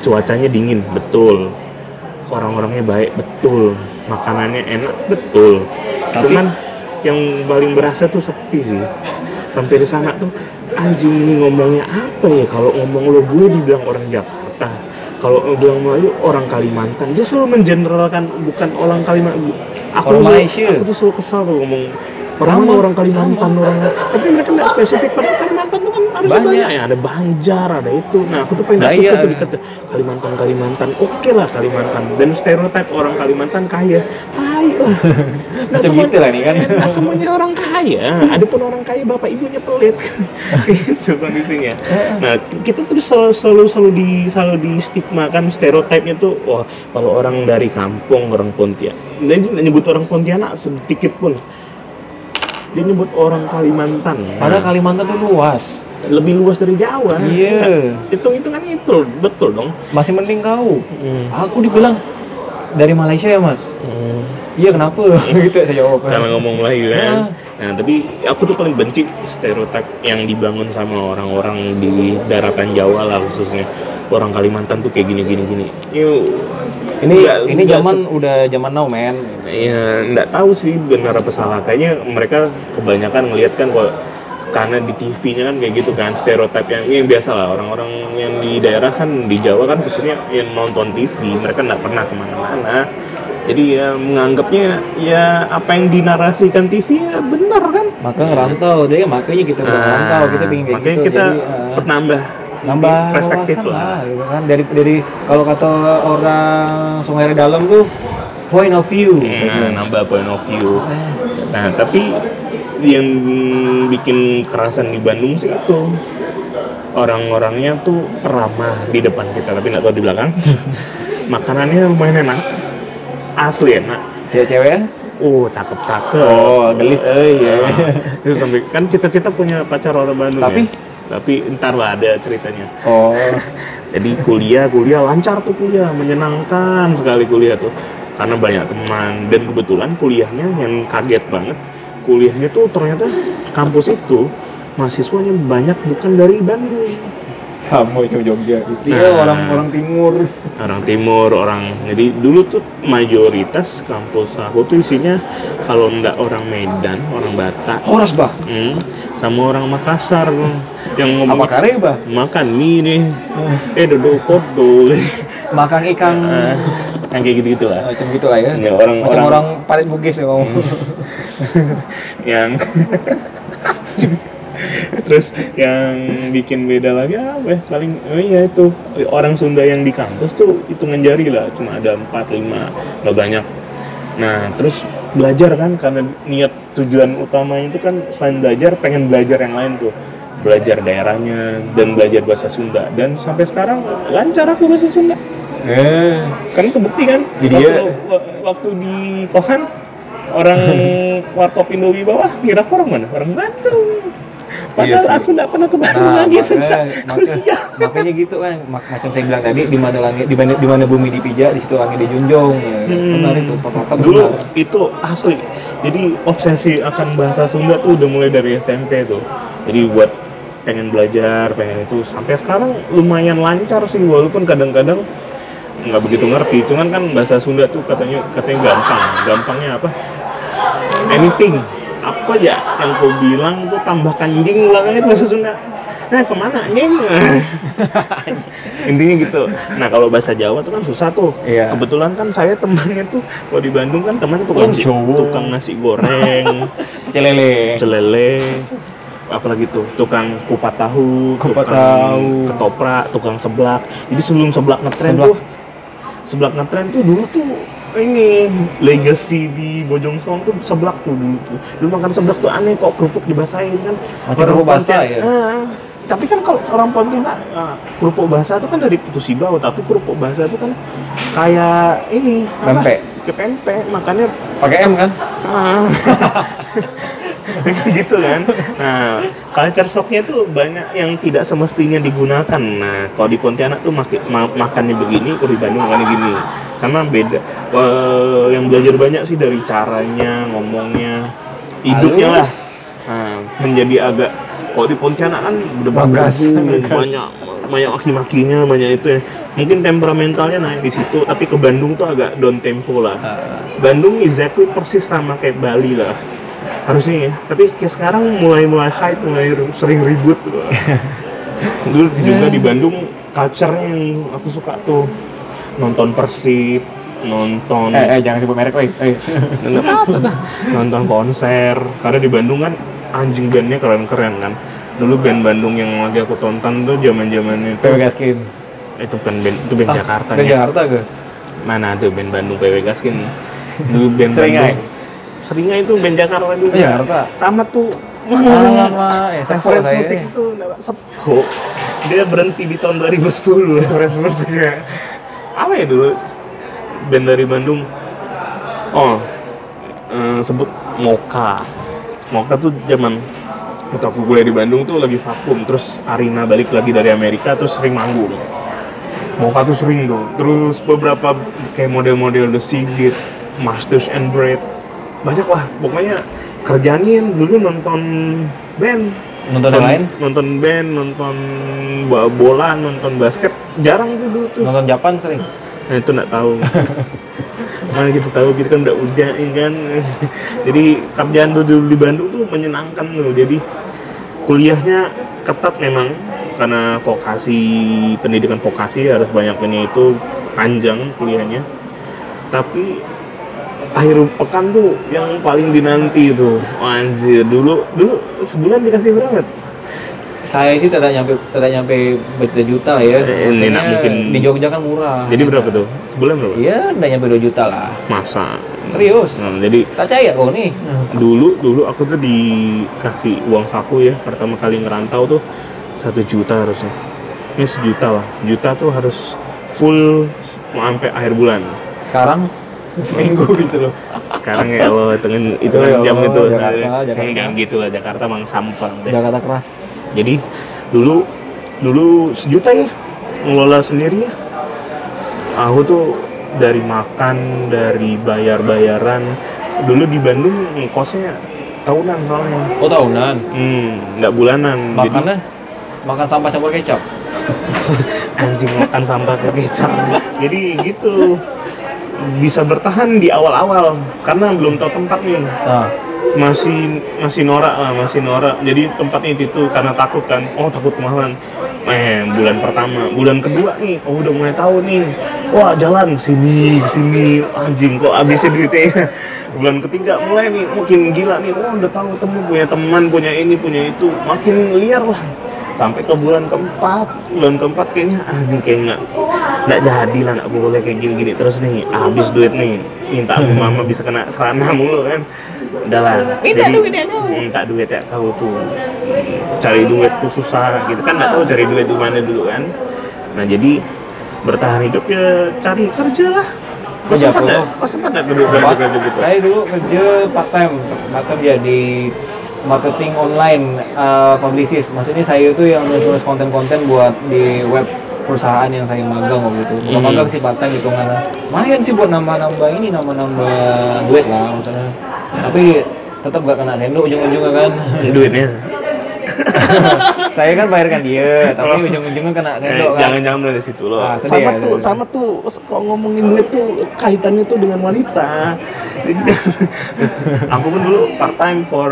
S2: cuacanya dingin, betul. Orang-orangnya baik, betul. Makanannya enak, betul. Cuman yang paling berasa tuh sepi sih. Sampai di sana tuh anjing ini ngomongnya apa ya? Kalau ngomong lo gue dibilang orang Jakarta. Kalau lo bilang Melayu orang Kalimantan. Dia selalu mengeneralkan bukan orang Kalimantan. Aku
S3: Orang
S2: selalu-
S3: Malaysia.
S2: aku tuh selalu kesal tuh ngomong orang
S3: Sama,
S2: mana orang Kalimantan orang tapi mereka nggak spesifik padahal Kalimantan tuh kan harusnya banyak.
S3: Banyak.
S2: ya ada Banjar ada itu nah aku tuh paling nggak
S3: Dayak.
S2: suka tuh dikata Kalimantan Kalimantan oke lah Kalimantan dan stereotip orang Kalimantan kaya tai lah nggak
S3: Macam
S2: semua-
S3: gitu lah nih kan.
S2: nggak semuanya orang kaya ada pun orang kaya bapak ibunya pelit gitu kondisinya nah kita terus selalu selalu selalu di selalu di stigma kan stereotipnya tuh wah kalau orang dari kampung orang Pontianak dia nggak nyebut orang Pontianak sedikit pun dia nyebut orang Kalimantan
S3: Padahal Kalimantan tuh luas.
S2: lebih luas dari Jawa
S3: Iya.
S2: itu itu kan itu betul dong
S3: Masih mending kau. Aku dibilang dari Malaysia ya mas. Iya kenapa? gitu saya jawab.
S2: karena ngomong Melayu kan. Nah, tapi aku tuh paling benci stereotip yang dibangun sama orang-orang di daratan Jawa lah khususnya. Orang Kalimantan tuh kayak gini gini gini. Yo,
S3: Ini
S2: nggak-
S3: ini
S2: nggak
S3: zaman udah zaman now men.
S2: ya nggak tahu sih benar apa salah kayaknya mereka kebanyakan ngelihat kan kalau karena di TV-nya kan kayak gitu kan stereotip yang yang biasa lah orang-orang yang di daerah kan di Jawa kan khususnya yang nonton TV mereka nggak pernah kemana-mana jadi ya menganggapnya ya apa yang dinarasikan TV ya benar kan
S3: Maka ngerantau, jadi makanya kita
S2: Nah,
S3: ngerantau, kan, kita pengen kayak
S2: makanya
S3: gitu.
S2: kita
S3: Jadi, ah,
S2: penambah
S3: nambah
S2: perspektif
S3: wawasan
S2: lah.
S3: gitu kan dari dari kalau kata orang Sungai Dalam tuh point of view
S2: Nah,
S3: Hmm.
S2: nambah point of view. Nah, tapi yang bikin kerasan di Bandung sih itu orang-orangnya tuh ramah di depan kita tapi nggak tahu di belakang. Makanannya lumayan enak, asli enak.
S3: ya cewek
S2: Oh, cakep-cakep.
S3: oh gelis eh iya
S2: Terus sampai kan cita-cita punya pacar orang Bandung
S3: Tapi?
S2: ya? Tapi ntar lah ada ceritanya.
S3: oh
S2: Jadi kuliah, kuliah lancar tuh kuliah, menyenangkan sekali kuliah tuh. Karena banyak teman dan kebetulan kuliahnya yang kaget banget. Kuliahnya tuh ternyata kampus itu mahasiswanya banyak bukan dari Bandung.
S3: sama cowok Jogja sih
S2: Nah.
S3: orang orang timur
S2: Orang timur, orang jadi dulu tuh mayoritas kampus aku tuh isinya kalau nggak orang Medan, orang Batak,
S3: Horas bah
S2: hmm, sama orang Makassar hmm, yang
S3: apa
S2: ngomong
S3: kareba
S2: makan mie nih, eh dodol kodo,
S3: makan ikan
S2: yang kayak gitu-gitu lah.
S3: macam gitulah ya
S2: Ya, Iya. orang-
S3: macam
S2: orang- Hmm.
S3: orang, parit bugis ya kamu
S2: yang terus yang bikin beda lagi apa ya paling oh iya itu orang Sunda yang di kampus tuh hitungan jari lah cuma ada empat lima nggak banyak nah terus belajar kan karena niat tujuan utamanya itu kan selain belajar pengen belajar yang lain tuh belajar daerahnya dan belajar bahasa Sunda dan sampai sekarang lancar aku bahasa Sunda
S3: eh
S2: kan kebukti kan
S3: Jadi
S2: waktu,
S3: ya-
S2: wa- waktu di kosan orang warkop Indomie bawah ngira aku orang mana orang Bandung Padahal
S1: sih.
S2: aku nggak pernah ke Bandung lagi sejak
S3: maka-
S2: kuliah.
S3: Nah, makanya gitu kan Mak- macam saya bilang tadi di mana langit di mana, di mana bumi dipijak di situ langit dijunjung ya. benar itu pepatah
S2: Hmm. Dulu
S3: benar.
S2: itu asli. Jadi obsesi akan bahasa Sunda tuh udah mulai dari SMP tuh. Jadi buat pengen belajar, pengen itu sampai sekarang lumayan lancar sih walaupun kadang-kadang nggak begitu ngerti. Cuman kan bahasa Sunda tuh katanya katanya gampang. Gampangnya apa? Anything. Apa aja yang kau bilang tuh tambahkan jing belakangnya itu bahasa Sunda. Nah, kemana nyeng? Intinya gitu. Nah, kalau bahasa Jawa tuh kan susah tuh.
S3: Iya.
S2: Kebetulan kan saya temannya tuh kalau di Bandung kan temannya tuh
S1: Oh, Jawa.
S2: tukang nasi goreng,
S1: Celele.
S2: celele, apalagi tuh tukang kupat tahu,
S3: Kupat
S2: tukang
S3: tahu.
S2: ketoprak, tukang seblak. Jadi sebelum seblak ngetren
S3: Seblak.
S2: tuh seblak ngetren tuh dulu tuh ini legacy di Bojong Soang tuh seblak tuh dulu tuh. Dulu makan seblak tuh aneh kok kerupuk dibasahin kan.
S3: Makan kerupuk basah
S2: Pontian-
S3: ya?
S2: Ah, tapi kan kalau orang Pontianak ah, kerupuk basah itu kan dari Putusibau, tapi kerupuk basah itu kan kayak ini apa?
S3: Pempek.
S2: Kayak pempek, makanya
S3: pakai M kan
S2: Ah. gitu kan. Nah, culture shocknya tuh banyak yang tidak semestinya digunakan. Nah, kalau di Pontianak tuh maki- ma- makannya begini, kalau di Bandung makannya gini. Sama beda. Eh, yang belajar banyak sih dari caranya, ngomongnya, hidupnya lah. Nah, menjadi agak kalau di Pontianak kan udah
S3: Bagas.
S2: bagus, banyak banyak maki-makinya, banyak itu ya. Mungkin temperamentalnya naik di situ, tapi ke Bandung tuh agak down tempo lah. Bandung exactly persis sama kayak Bali lah harusnya ya tapi kayak sekarang mulai mulai hype mulai ru- sering ribut dulu juga di Bandung culture-nya yang aku suka tuh nonton Persib nonton
S3: eh, eh jangan sebut merek woi Eh.
S2: Nggak apa-apa dah. nonton konser karena di Bandung kan anjing bandnya keren-keren kan dulu band Bandung yang lagi aku tonton tuh zaman zamannya itu
S3: PW Gaskin
S2: itu bukan band itu band
S3: Ah,
S2: Jakarta
S3: dari
S2: ya
S3: Jakarta ke
S2: mana ada band Bandung PW Gaskin kan? dulu band
S3: Seringai.
S2: Bandung Seringai itu band Jakarta dulu
S3: Oh, Jakarta.
S2: sama tuh
S3: Alamak, ya, sepul
S2: referensi
S3: saya.
S2: musik itu nggak- sepo dia berhenti di tahun 2010 referensi musiknya apa ya dulu band dari Bandung oh eh, sebut Moka Moka tuh zaman waktu aku kuliah di Bandung tuh lagi vakum terus Arina balik lagi dari Amerika terus sering manggung Moka tuh sering tuh. Terus beberapa kayak model-model The Sigit, Masters and Bread. Banyak lah. Pokoknya kerjaanin dulu nonton band.
S3: Nonton yang lain?
S2: Nonton band, nonton bo- bola, nonton basket. Jarang tuh dulu tuh.
S3: nonton Japan sering
S2: Nah, itu nggak tahu. Mana gitu tahu gitu kan udah udah ya kan. Jadi kerjaan tuh dulu di Bandung tuh menyenangkan loh. Jadi kuliahnya ketat memang karena vokasi pendidikan vokasi harus banyaknya itu panjang kuliahnya. Tapi akhir pekan tuh yang paling dinanti itu anjir dulu dulu sebulan dikasih berapa
S3: saya sih tidak nyampe tidak nyampe berjuta lah ya
S2: Eh, ini
S3: Maksudnya
S2: nak mungkin-
S3: di Jogja kan murah
S2: jadi berapa tuh sebulan berapa
S3: iya tidak nyampe 2 juta lah
S2: masa
S3: Serius?
S2: Nah, jadi
S3: tak percaya kau nih
S2: Hmm. dulu dulu aku tuh dikasih uang saku ya pertama kali ngerantau tuh satu juta harusnya ini sejuta lah juta tuh harus full mau sampai akhir bulan
S3: sekarang seminggu gitu loh
S2: sekarang ya Allah hitungan hitungan
S3: Ya Allah,
S2: jam itu
S3: Jakarta,
S2: Nah,
S3: Jakarta.
S2: enggak gitu lah Jakarta mang sampang deh
S3: Jakarta keras
S2: jadi dulu dulu sejuta ya ngelola sendiri ya aku tuh dari makan dari bayar bayaran dulu di Bandung kosnya tahunan soalnya
S3: oh tahunan
S2: Hmm, nggak bulanan.
S3: makannya makan sampah campur kecap
S2: Jadi anjing makan sampah ke kecap. Jadi gitu bisa bertahan di awal-awal karena belum tahu tempat nih
S3: nah
S2: masih masih norak lah masih norak jadi tempatnya itu tuh karena takut kan oh takut kemahalan eh bulan pertama bulan kedua nih oh udah mulai tahu nih wah jalan sini sini anjing kok habisnya duitnya ya? bulan ketiga mulai nih makin gila nih oh udah tahu temu punya teman punya ini punya itu makin liar lah sampai ke bulan keempat bulan keempat kayaknya ah ini kayak nggak nggak jadi lah nggak boleh kayak gini-gini terus nih habis duit nih minta sama mama bisa kena serana mulu kan udahlah minta duit aja minta duit ya kau tuh cari duit tuh susah gitu kan nggak tahu cari duit di mana dulu kan nah jadi bertahan hidup ya cari kerja lah kau
S3: Kerja
S2: sempat
S3: apa?
S2: nggak kau sempat nggak kerja kerja gitu
S3: saya dulu kerja part time part time jadi ya marketing online eh, publicist. Maksudnya saya itu yang nulis-nulis konten-konten buat di web perusahaan yang saya magang waktu itu. Bukan
S2: Hmm.
S3: magang sih part time hitungan. Lumayan sih buat nambah-nambah ini, nambah-nambah duit lah maksudnya. Tapi tetap gak kena sendok ujung-ujungnya kan.
S2: duitnya
S3: saya kan bayarkan dia, tapi ujung-ujungnya kena
S2: Eh,
S3: sendok kan.
S2: jangan-jangan dari situ loh
S3: Ah, sedih
S4: sama
S3: ya,
S4: tuh
S3: sedih.
S4: sama tuh kalau ngomongin duit tuh kaitannya tuh dengan wanita
S2: aku pun dulu part time for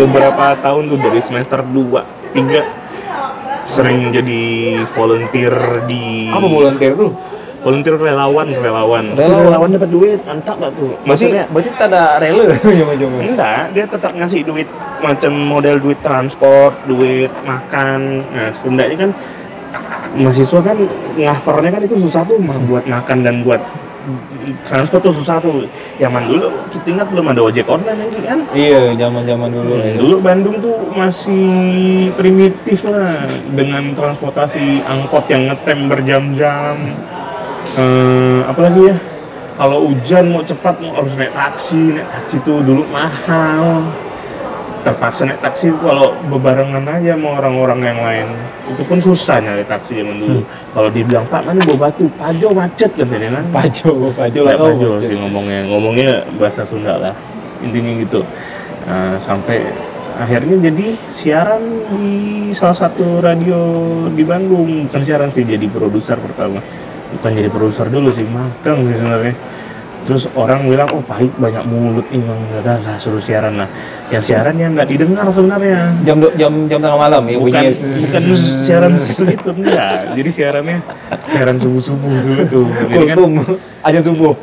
S2: beberapa tahun tuh dari semester 2, 3 sering jadi volunteer di
S3: Apa volunteer tuh?
S2: volunteer relawan relawan
S3: Relawan.
S4: lawan dapat duit mantap gak tuh
S2: maksudnya
S3: Maksudnya, berarti tak ada rela ujung-ujungnya.
S2: enggak dia tetap ngasih duit macam model duit transport duit makan nah setidaknya kan mahasiswa kan ngafernya kan itu susah tuh mah buat makan dan buat transport tuh susah tuh zaman dulu kita ingat belum ada ojek online lagi kan
S3: Iya, zaman-zaman dulu. ya.
S2: Dulu Bandung tuh masih primitif lah dengan transportasi angkot yang ngetem berjam-jam. Eh, apalagi ya kalau hujan mau cepat mau harus naik taksi, naik taksi tuh dulu mahal. Terpaksa naik taksi kalau bebarengan aja sama orang-orang yang lain. Itu pun susah nyari taksi zaman dulu. Kalau dibilang Pak mana bawa batu, Pajo macet katanya kan.
S3: Pajo, Pajo lah
S2: Nggak
S3: kau.
S2: Pajo sih ngomongnya, ngomongnya bahasa Sunda lah intinya gitu. Nah, sampai akhirnya jadi siaran di salah satu radio di Bandung, bukan siaran sih jadi produser pertama. Bukan jadi produser dulu sih, magang sih sebenarnya. Terus orang bilang, oh pahit banyak mulut nih Bang Udah, saya suruh siaran lah. Yang siaran yang nggak didengar sebenarnya
S3: Jam do- jam jam tengah malam ya
S2: bukan
S3: bunyinya.
S2: bukan siaran itu enggak jadi siarannya siaran subuh subuh dulu tuh jadi kan
S3: kultum aja tubuh.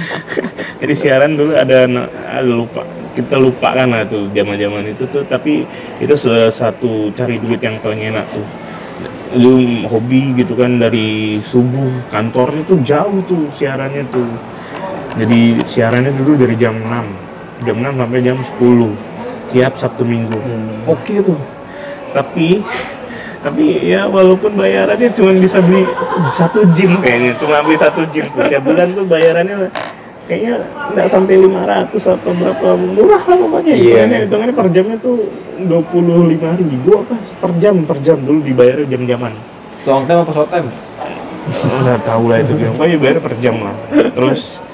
S2: jadi siaran dulu ada, ada lupa kita lupakan lah tuh zaman zaman itu tuh tapi itu salah satu cari duit yang paling enak tuh lu hobi gitu kan dari subuh kantornya tuh jauh tuh siarannya tuh jadi siarannya dulu dari jam 6 jam 6 sampai jam 10 tiap Sabtu Minggu Hmm. oke tuh tapi tapi ya walaupun bayarannya cuma bisa beli satu jeans kayaknya cuma beli satu jeans setiap bulan tuh bayarannya kayaknya nggak sampai 500 atau berapa murah lah pokoknya
S3: Iya.
S2: hitungannya hitungannya per jamnya tuh 25.000 apa per jam per jam dulu dibayar jam-jaman
S3: Long time apa short time?
S2: udah tahu lah itu gimana pokoknya Oh iya, bayar per jam lah terus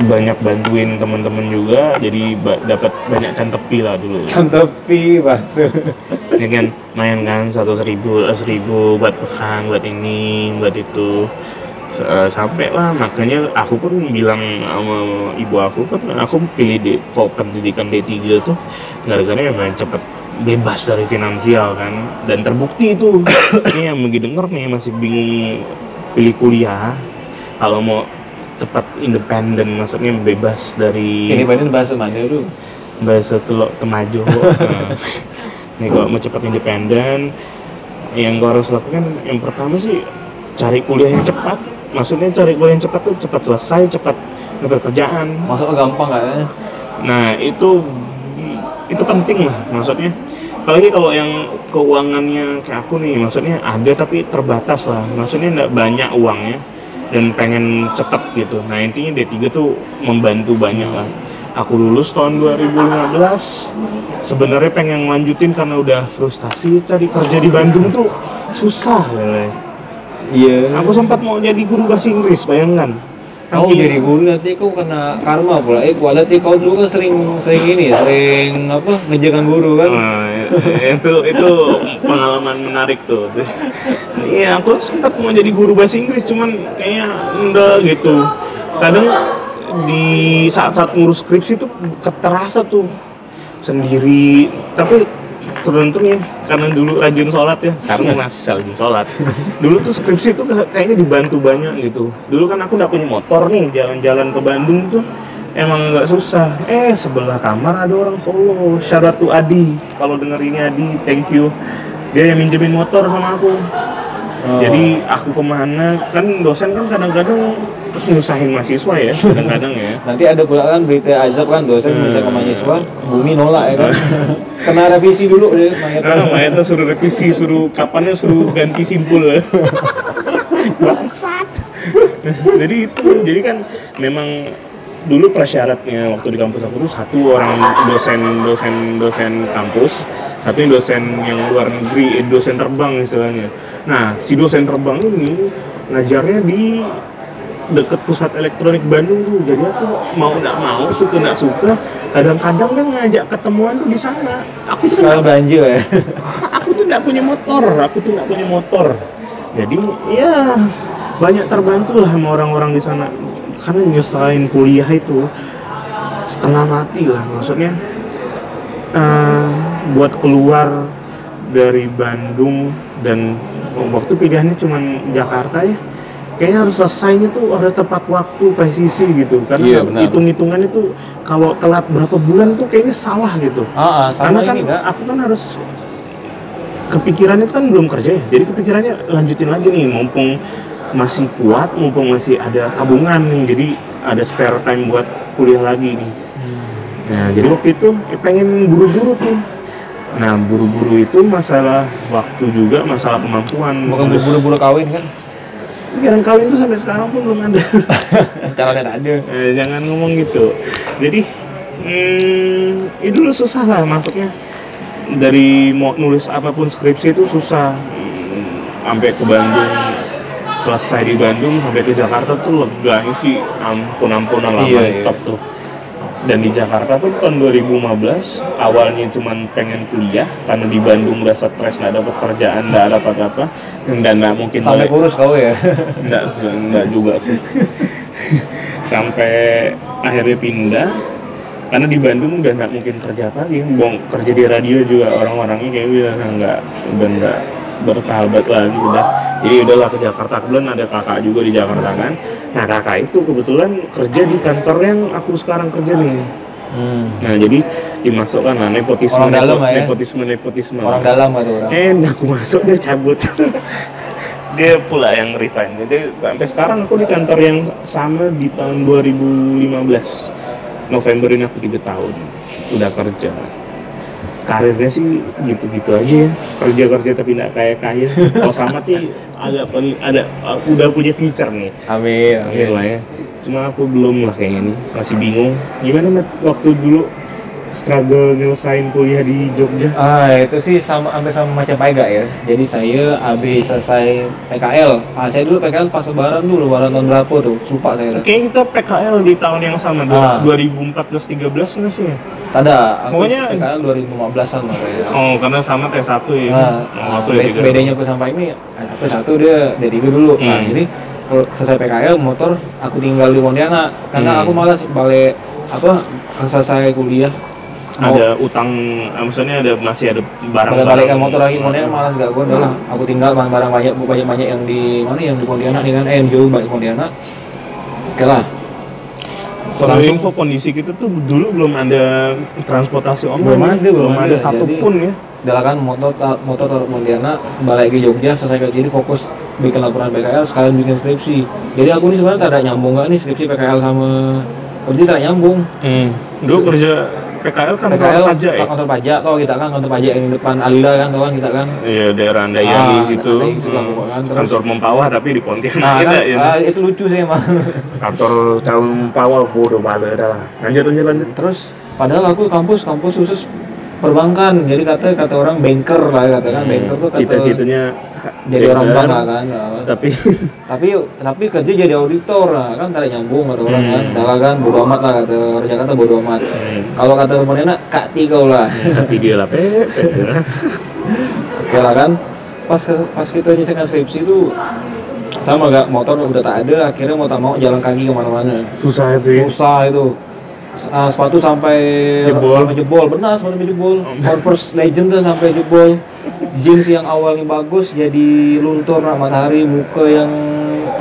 S2: banyak bantuin teman-teman juga jadi ba- dapat banyak cantepi lah dulu
S3: Cantepi basuh.
S2: ya kan main kan satu seribu seribu buat pekan buat ini buat itu S- eh, sampai lah makanya aku pun bilang sama ibu aku kan aku pilih di for pendidikan D3 tuh gara-gara yang main cepet bebas dari finansial kan dan terbukti itu ini yang lagi denger nih masih bingung pilih kuliah kalau mau cepat independen maksudnya bebas dari
S3: Ini badan bahasa mana dulu?
S2: bahasa telok temajo Nah, nih kalau mau cepat independen yang gua harus lakukan yang pertama sih cari kuliah yang cepat maksudnya cari kuliah yang cepat tuh cepat selesai cepat dapat kerjaan
S3: Masuk gampang nggak ya?
S2: nah itu itu penting lah maksudnya apalagi kalau yang keuangannya kayak aku nih maksudnya ada tapi terbatas lah maksudnya nggak banyak uangnya dan pengen cepet gitu nah intinya D3 tuh membantu banyak lah aku lulus tahun 2015 sebenarnya pengen lanjutin karena udah frustasi tadi kerja di Bandung tuh susah Lele.
S3: Iya.
S2: aku sempat mau jadi guru bahasa Inggris bayangkan
S3: Kau
S2: Tapi-
S3: Oh, jadi guru nanti kau kena karma pula. Eh, kau nanti kau dulu kan sering sering ini, sering apa ngejakan guru kan?
S2: Eh, itu itu pengalaman menarik tuh. Terus, Iya, aku sempat mau jadi guru bahasa Inggris, cuman kayaknya enggak gitu. Kadang di saat-saat ngurus skripsi tuh keterasa tuh sendiri. Tapi teruntung ya, karena dulu rajin sholat ya, sekarang masih rajin sholat. Dulu tuh skripsi tuh kayaknya dibantu banyak gitu. Dulu kan aku nggak punya motor nih, jalan-jalan ke Bandung tuh emang nggak susah eh sebelah kamar ada orang Solo syarat tuh Adi kalau denger ini Adi thank you dia yang minjemin motor sama aku jadi aku kemana kan dosen kan kadang-kadang terus nyusahin mahasiswa ya kadang-kadang ya
S3: Nanti ada pula kan berita azab kan dosen
S2: Hmm.
S3: bisa ke mahasiswa, bumi nolak ya kan. Kena revisi dulu deh mayat.
S2: nah Mayata suruh revisi suruh kapannya suruh ganti simpul bangsat jadi itu jadi kan memang dulu prasyaratnya waktu di kampus aku tuh satu orang dosen dosen dosen kampus satu dosen yang luar negeri eh, dosen terbang istilahnya nah si dosen terbang ini ngajarnya di deket pusat elektronik Bandung tuh jadi aku mau nggak mau suka nggak suka kadang-kadang dia ngajak ketemuan tuh di sana aku tuh
S3: Selalu belanja ya.
S2: aku tuh nggak punya motor aku tuh nggak punya motor jadi ya banyak terbantu lah sama orang-orang di sana karena nyusahin kuliah itu setengah mati lah maksudnya eh, buat keluar dari Bandung dan waktu pilihannya cuman Jakarta ya kayaknya harus selesainya tuh ada tepat waktu presisi gitu
S3: Iya,
S2: karena
S3: benar.
S2: hitung-hitungannya tuh kalau telat berapa bulan tuh kayaknya salah gitu
S3: Ah, ah,
S2: karena
S3: sama
S2: kan
S3: ini enggak.
S2: aku kan harus kepikirannya kan belum kerja ya jadi kepikirannya lanjutin lagi nih mumpung masih kuat mumpung masih ada tabungan nih jadi ada spare time buat kuliah lagi nih
S3: Hmm.
S2: nah jadi waktu itu ya pengen buru-buru tuh nah buru-buru itu masalah waktu juga masalah kemampuan
S3: Bukan
S2: Harus-
S3: buru-buru kawin kan?
S2: pikiran kawin tuh sampai sekarang pun belum ada
S3: Calonnya tak ada.
S2: Eh, jangan ngomong gitu. Jadi, hmm, itu dulu susah lah masuknya. Dari mau nulis apapun skripsi itu susah. Hmm, Sampai ke Bandung, selesai di Bandung sampai ke Jakarta tuh leganya sih ampun ampunan lah
S3: Iya,
S2: mantap tuh. Dan di Jakarta tuh tahun 2015 awalnya cuman pengen kuliah karena di Bandung udah stres nggak ada pekerjaan nggak ada apa-apa dan nggak mungkin
S3: Sampai
S2: balik-
S3: kurus kau ya.
S2: Enggak, enggak juga sih. Sampai akhirnya pindah karena di Bandung udah nggak mungkin kerja apa lagi. Bong kerja di radio juga orang-orangnya kayak udah nggak udah nggak bersahabat lagi udah. Jadi udahlah ke Jakarta kebetulan ada kakak juga di Jakarta kan. Nah kakak itu kebetulan kerja di kantor yang aku sekarang kerja nih.
S3: Hmm.
S2: Nah jadi dimasukkan lah nepotisme
S3: Orang dalam lah ya.
S2: nepotisme nepotisme.
S3: Orang dalam atau orang.
S2: Eh, aku masuk dia cabut. dia pula yang resign. Jadi sampai sekarang aku di kantor yang sama di tahun 2015. November ini aku tiga tahun udah kerja. Karirnya sih gitu-gitu aja ya. Kerja-kerja tapi nggak kayak kaya. Kalau sama sih agak pen- ada udah punya feature nih.
S3: Amin.
S2: Akhir lah ya. Cuma aku belum lah kayaknya nih, masih bingung. Gimana Mat, waktu dulu struggle nyelesain kuliah di Jogja?
S3: Ah, itu sih sama hampir sama macam Paega ya. Jadi saya habis selesai PKL. Ah, saya dulu PKL pas lebaran dulu, lebaran tahun berapa tuh? Lupa saya. dah.
S2: Kayaknya kita PKL di tahun yang sama,
S3: Ah.
S2: 2014-13 nggak sih ya?
S3: Ada. aku
S2: Pokoknya-
S3: PKL 2015-an lah kayaknya.
S2: Oh, karena sama kayak satu ya.
S3: Nah,
S2: oh, aku ya
S3: bed-
S2: tiga.
S3: bedanya aku sampai ini, aku satu dia D3 dulu. Nah,
S2: Hmm.
S3: jadi kalau selesai PKL motor aku tinggal di Pontianak karena
S2: Hmm.
S3: aku malas balik apa selesai kuliah mau
S2: Ada utang, eh, maksudnya ada masih ada barang
S3: balik balik motor lagi ya? Pontianak malas gak gue udah lah aku tinggal barang-barang banyak banyak banyak yang di mana yang di Pontianak nih kan eh yang jauh balik Pontianak oke lah
S2: Soal info kondisi kita tuh dulu belum ada transportasi online.
S3: Belum
S2: ya.
S3: ada, belum
S2: belum ada,
S3: ada.
S2: satupun ya.
S3: udah kan motor ta- motor taruh Pontianak balik ke Jogja selesai kerja jadi fokus bikin laporan PKL sekalian bikin skripsi jadi aku ini sebenarnya tak ada nyambung nggak nih skripsi PKL sama kerja tak nyambung
S2: Dulu kerja PKL kan kantor pajak ya?
S3: kantor pajak tau kita kan kantor pajak yang di depan Alila kan tau kan kita kan
S2: Iya, daerah Andayani
S3: Ah,
S2: situ.
S3: Andayani situ,
S2: Hmm.
S3: pokoknya. Terus-
S2: Kantor Mempawah tapi di
S3: nah
S2: Pontianak
S3: kan,
S2: kita ya.
S3: ah, itu lucu sih emang
S2: Kantor tahun Mempawah bodoh banget dah lah. Lanjut lanjut lanjut.
S3: terus padahal aku kampus kampus khusus perbankan jadi kata kata orang banker lah kata kan banker tuh kata
S2: cita-citanya
S3: jadi orang bank
S2: bank
S3: lah kan Ah.
S2: tapi
S3: tapi tapi kerja jadi auditor lah kan tarik nyambung kata orang
S2: Hmm.
S3: kan Dalah kan bodo amat lah kata orang Jakarta bodo amat kalau kata pemerintah kak tiga lah
S2: tapi dia lah pepe
S3: oke lah kan pas pas kita nyisikan skripsi itu sama gak motor udah tak ada akhirnya mau tak mau jalan kaki kemana-mana
S2: susah itu ya
S3: susah itu Ah, sepatu sampai
S2: Jebol.
S3: sampai jebol benar sepatu jebol Converse Legend tuh sampai jebol jeans yang awalnya bagus jadi luntur nah, matahari muka yang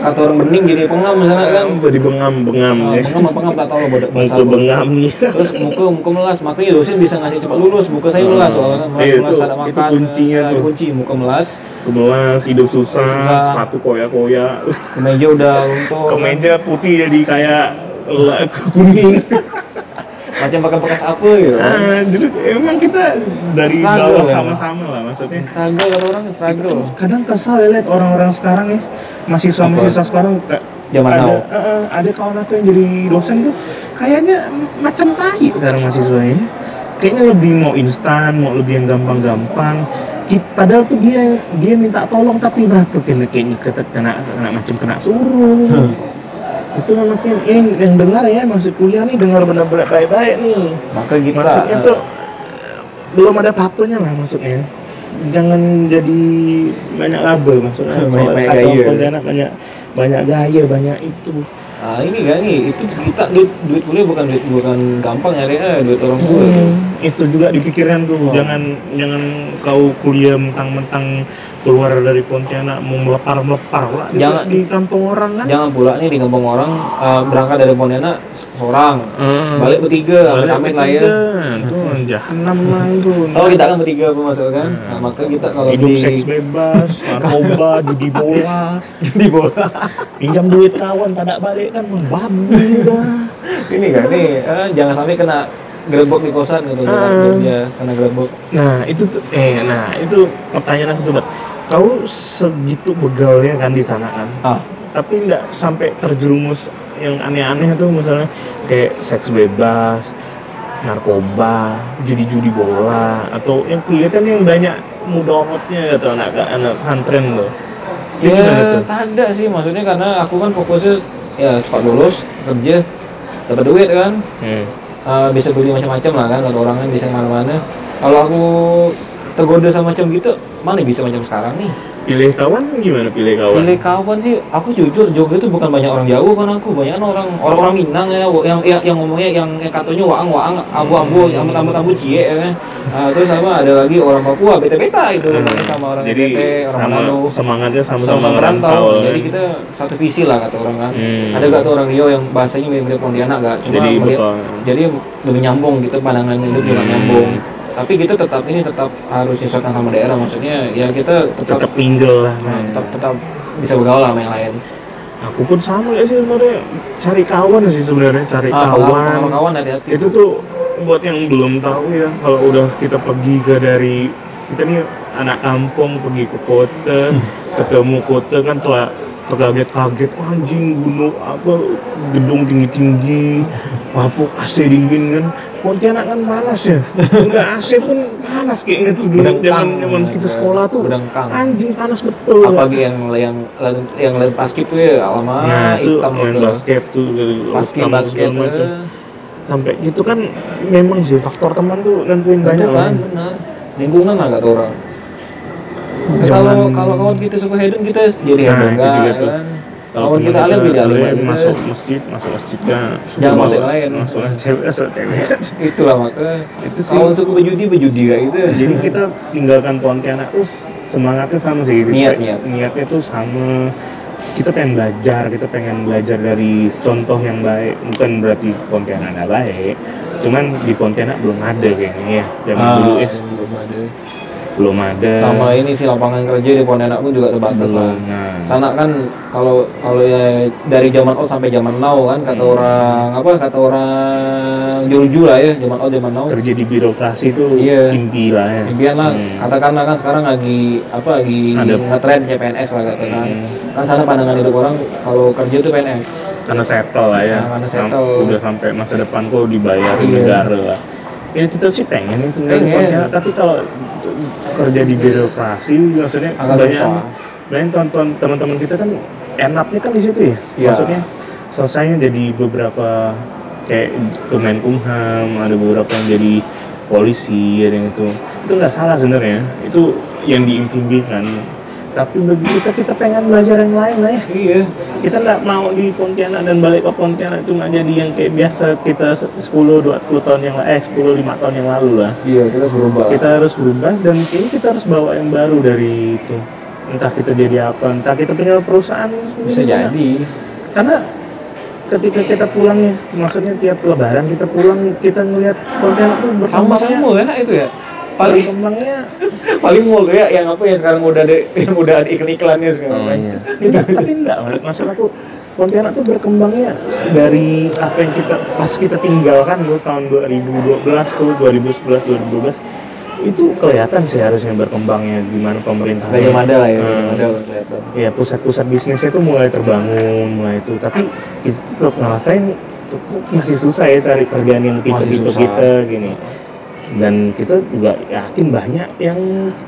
S3: kata orang bening jadi pengam misalnya kan
S2: di bengam bengam
S3: Ah,
S2: ya
S3: pengam pengam tak tahu bodoh
S2: muka bengamnya
S3: terus muka muka melas makanya dosen bisa ngasih cepat lulus muka saya melas soalnya kan melas,
S2: Iya,
S3: melas,
S2: itu-
S3: ada
S2: itu kuncinya
S3: ada
S2: tuh.
S3: kunci muka melas
S2: kemelas hidup susah
S3: Susah.
S2: sepatu koya koya
S3: kemeja udah luntur
S2: kemeja putih jadi kayak la- kuning
S3: macam pakai bekas apa gitu
S2: Ah, jadi emang kita dari
S3: Struggle
S2: bawah
S3: ya.
S2: sama-sama lah maksudnya
S3: struggle kata orang struggle
S2: kadang kesal ya lihat orang-orang sekarang ya mahasiswa mahasiswa sekarang ka-
S3: Zaman
S2: ada
S3: now.
S2: eh, eh, ada kawan aku yang jadi dosen tuh kayaknya macam tai sekarang mahasiswanya kayaknya lebih mau instan mau lebih yang gampang-gampang Ki- padahal tuh dia dia minta tolong tapi beratur kayaknya kayaknya kena kena, kena macam kena suruh
S3: Hmm.
S2: itu makin yang, yang dengar ya masih kuliah nih dengar benar-benar baik-baik nih
S5: Maka kita
S3: Gitu
S2: maksudnya tuh belum ada papenya lah maksudnya jangan jadi banyak label maksudnya
S6: Banyak-
S2: Kalau
S6: banyak
S2: kata
S6: gaya.
S2: pontianak banyak banyak gaya banyak itu
S3: Ah ini gak nih, itu kita duit duit kuliah bukan duit bukan gampang ya eh, duit orang tua.
S2: Hmm. itu juga di pikiran tuh jangan jangan kau kuliah mentang-mentang keluar dari Pontianak mau melepar melepar lah di-
S3: Jangan.
S2: di kampung orang kan
S3: Jangan pula nih di kampung orang eh, berangkat dari Pontianak seorang,
S2: Hmm.
S3: balik bertiga,
S2: Balik
S3: amit-amit lah ya.
S2: bertiga. tuh jahanam lah tuh
S3: Kalau kita kan bertiga pemasukan, kan, nah, maka kita kalau
S2: Hmm. hidup
S3: di
S2: seks bebas narkoba judi bola
S6: di bola
S2: pinjam duit kawan tak ada balik kan babi dah
S3: ini gak nih, eh, jangan sampai kena gerebok di kosan gitu, jangan
S2: Ah.
S3: kerja kena gerebok.
S2: Nah itu tuh- eh nah itu pertanyaan aku tuh Bat. Kau segitu begalnya kan di sana kan,
S3: Ah.
S2: tapi nggak sampai terjerumus yang aneh-aneh tuh misalnya kayak seks bebas, narkoba, judi-judi bola atau yang kelihatan yang banyak mudorotnya atau anak anak santren loh. Itu gimana
S3: Ya,
S2: tuh?
S3: tak ada sih maksudnya karena aku kan fokusnya ya cepat lulus kerja dapat duit kan
S2: Hmm.
S3: Eh, bisa beli macam-macam lah kan kalau orang kan bisa kemana-mana kalau aku tergoda sama macam gitu mana bisa macam sekarang nih
S2: Pilih kawan gimana pilih kawan?
S3: pilih kawan sih aku jujur Jogja itu bukan banyak orang jauh kan aku banyak orang orang orang Minang ya yang yang, yang ngomongnya yang, yang katanya waang waang abu abu
S2: Hmm.
S3: abu abu abu cie ya kan. Eh, terus sama ada lagi orang Papua beta beta gitu sama orang
S2: Hmm. Jadi
S3: NTT, orang
S2: sama
S3: Manado
S2: semangatnya sama-sama
S3: sama-sama
S2: merantau.
S3: merantau jadi
S2: kan?
S3: kita satu visi lah kata orang kan
S2: Hmm.
S3: ada gak tuh orang Rio yang bahasanya mirip-mirip Pontianak gak cuma
S2: Jadi
S3: melihat-
S2: bakal-
S3: jadi lebih nyambung gitu pandangan hidup juga
S2: Hmm.
S3: nyambung tapi kita tetap ini tetap harus disesuaikan sama daerah maksudnya ya kita tetap
S2: tetap tinggal lah.
S3: nah,
S2: kan.
S3: tetap, tetap bisa bergaul lah sama yang lain
S2: Aku pun sama ya sih sebenarnya cari kawan sih sebenarnya cari
S3: Ah, kalau-
S2: kawan.
S3: kalau kawan hati-hati
S2: Itu tuh buat yang belum tahu ya kalau udah kita pergi ke dari kita nih anak kampung pergi ke kota
S3: Hmm.
S2: ketemu kota kan telah terkaget-kaget "Wah, anjing gunung apa gedung tinggi-tinggi mabuk AC dingin kan Pontianak kan panas ya nggak AC pun panas kayaknya tuh dulu
S3: Bedengkang.
S2: zaman zaman kita sekolah tuh
S3: Bedengkang.
S2: anjing panas betul
S3: apalagi yang yang yang, yang lain basket tuh ya lama
S2: Nah, itu
S3: hitam
S2: main
S3: gitu.
S2: basket tuh dari
S3: basket
S2: kampus
S3: basket eh.
S2: segala
S3: macam
S2: macam. Sampai gitu kan memang sih faktor teman tuh nentuin banyak
S3: kan
S2: kan.
S3: benar lingkungan lah kata orang Eh, kalau
S2: Jangan-
S3: kalau kawan kita suka hedon kita jadi
S2: Nah,
S3: hedon
S2: itu
S3: enggak,
S2: juga
S3: ya
S2: tuh.
S3: kan?
S2: Kalau
S3: kawan
S2: teman
S3: kita alim beda alim
S2: alim,
S3: aja.
S2: masuk masjid, masuk masjid kan.
S3: Jangan masuk yang lain.
S2: Masuk yang cewek, masuk cewek.
S3: itulah maka
S2: Itu
S3: itu
S2: sih.
S3: kalau untuk berjudi berjudi kayak gitu
S2: Jadi kita tinggalkan Pontianak tuh semangatnya sama sih. Kita-
S3: Niat, niat.
S2: Niatnya tuh sama. Kita pengen belajar, kita pengen belajar dari contoh yang baik. Bukan berarti Pontianak nggak baik. Cuman di Pontianak belum ada kayaknya ya. Zaman
S3: Ah,
S2: dulu ya
S3: belum ada.
S2: belum ada.
S3: sama ya. ini sih lapangan kerja di Pontianak pun juga terbatas lah
S2: Belum, nah.
S3: sana kan kalau kalau ya dari zaman old sampai zaman now kan kata
S2: Hmm.
S3: orang apa kata orang juruju lah ya zaman old zaman now
S2: kerja di birokrasi itu
S3: Iya.
S2: impi lah ya.
S3: impian lah
S2: Hmm.
S3: katakanlah kan sekarang lagi apa lagi
S2: Ada.
S3: ngetren ya PNS lah katakan
S2: Hmm.
S3: kan sana pandangan hidup orang kalau kerja tuh PNS
S2: Karena settle lah ya.
S3: Karena
S2: Sam-
S3: settle.
S2: udah sampai masa depan kok dibayarin
S3: Iya.
S2: negara lah. Ya kita sih pengen ya tinggal di
S3: Pengen.
S2: Pontianak, tapi kalau t- kerja di birokrasi maksudnya
S3: Agak
S2: kebanyakan
S3: susah.
S2: banyak tonton teman-teman kita kan enaknya kan di situ ya.
S3: Iya.
S2: Maksudnya selesainya jadi beberapa kayak Kemenkumham, ada beberapa yang jadi polisi, ada yang itu. Itu nggak salah sebenarnya. Itu yang diimpikan. Tapi bagi kita kita pengen belajar yang lain lah ya
S3: iya
S2: kita nggak mau di Pontianak dan balik ke Pontianak cuma jadi yang kayak biasa kita 10 20 tahun yang eh 10 5 tahun yang lalu lah.
S3: iya kita berubah
S2: Kita harus berubah dan kayaknya kita harus bawa yang baru dari itu. Entah kita jadi apa, entah kita punya perusahaan
S3: bisa
S2: sendiri.
S3: jadi
S2: Karena ketika kita pulang ya, maksudnya tiap lebaran kita pulang kita ngelihat Pontianak tuh berkembangnya.
S3: sama-sama ya itu ya paling
S2: Berkembangnya
S3: paling mall tuh ya yang apa ya sekarang udah ada yang udah ada iklan iklannya sekarang kan.
S2: Enggak, tapi enggak Mak. maksud aku Pontianak tuh berkembangnya dari apa yang kita pas kita tinggalkan tuh tahun 2012 tuh 2011 2012 itu kelihatan sih harusnya berkembangnya gimana Eh, iya, pemerintah
S3: Gajah Mada lah ya Gajah Mada lah kelihatan.
S2: ya pusat-pusat bisnisnya itu mulai terbangun mulai itu tapi kita tetap ngerasain tuh kok masih susah ya cari kerjaan yang tipe
S3: Masih
S2: tipe
S3: susah.
S2: kita gini dan kita juga yakin banyak yang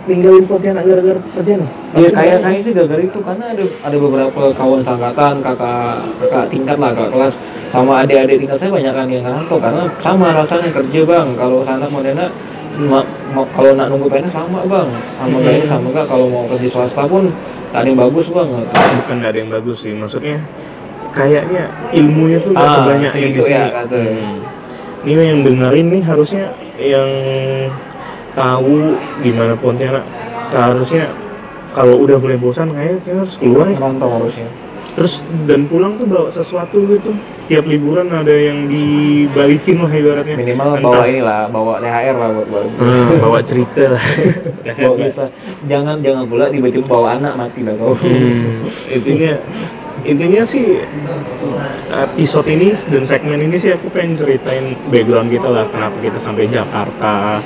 S2: ninggalin Pontianak gara-gara pekerjaan
S3: Iya kayak kayaknya sih gara-gara itu karena ada ada beberapa kawan sangkatan kakak kakak tingkat lah kakak kelas sama adik-adik tingkat saya banyak kan yang ngerantau karena sama rasanya kerja bang kalau sana modena ma- ma- kalau nak nunggu PNS sama bang sama kayaknya sama gak kalau mau kerja swasta pun tak ada yang bagus bang
S2: bukan nggak ada yang bagus sih maksudnya kayaknya ilmunya tuh nggak
S3: Ah,
S2: sebanyak yang di
S3: segitu
S2: sini
S3: ya, kata.
S2: Hmm. ini yang dengerin nih harusnya yang tahu gimana Pontianak harusnya kalau udah mulai bosan kayaknya kita harus keluar ya
S3: ngerantau harusnya
S2: terus dan pulang tuh bawa sesuatu gitu tiap liburan ada yang dibalikin lah ibaratnya
S3: minimal
S2: Entah-
S3: bawa inilah bawa THR lah buat buat
S2: Ah, bawa cerita lah
S3: bawa bisa jangan jangan pula tiba-tiba bawa anak mati lah kau
S2: Hmm, intinya intinya sih uh, episode ini dan segmen ini sih aku pengen ceritain background kita lah kenapa kita sampai Jakarta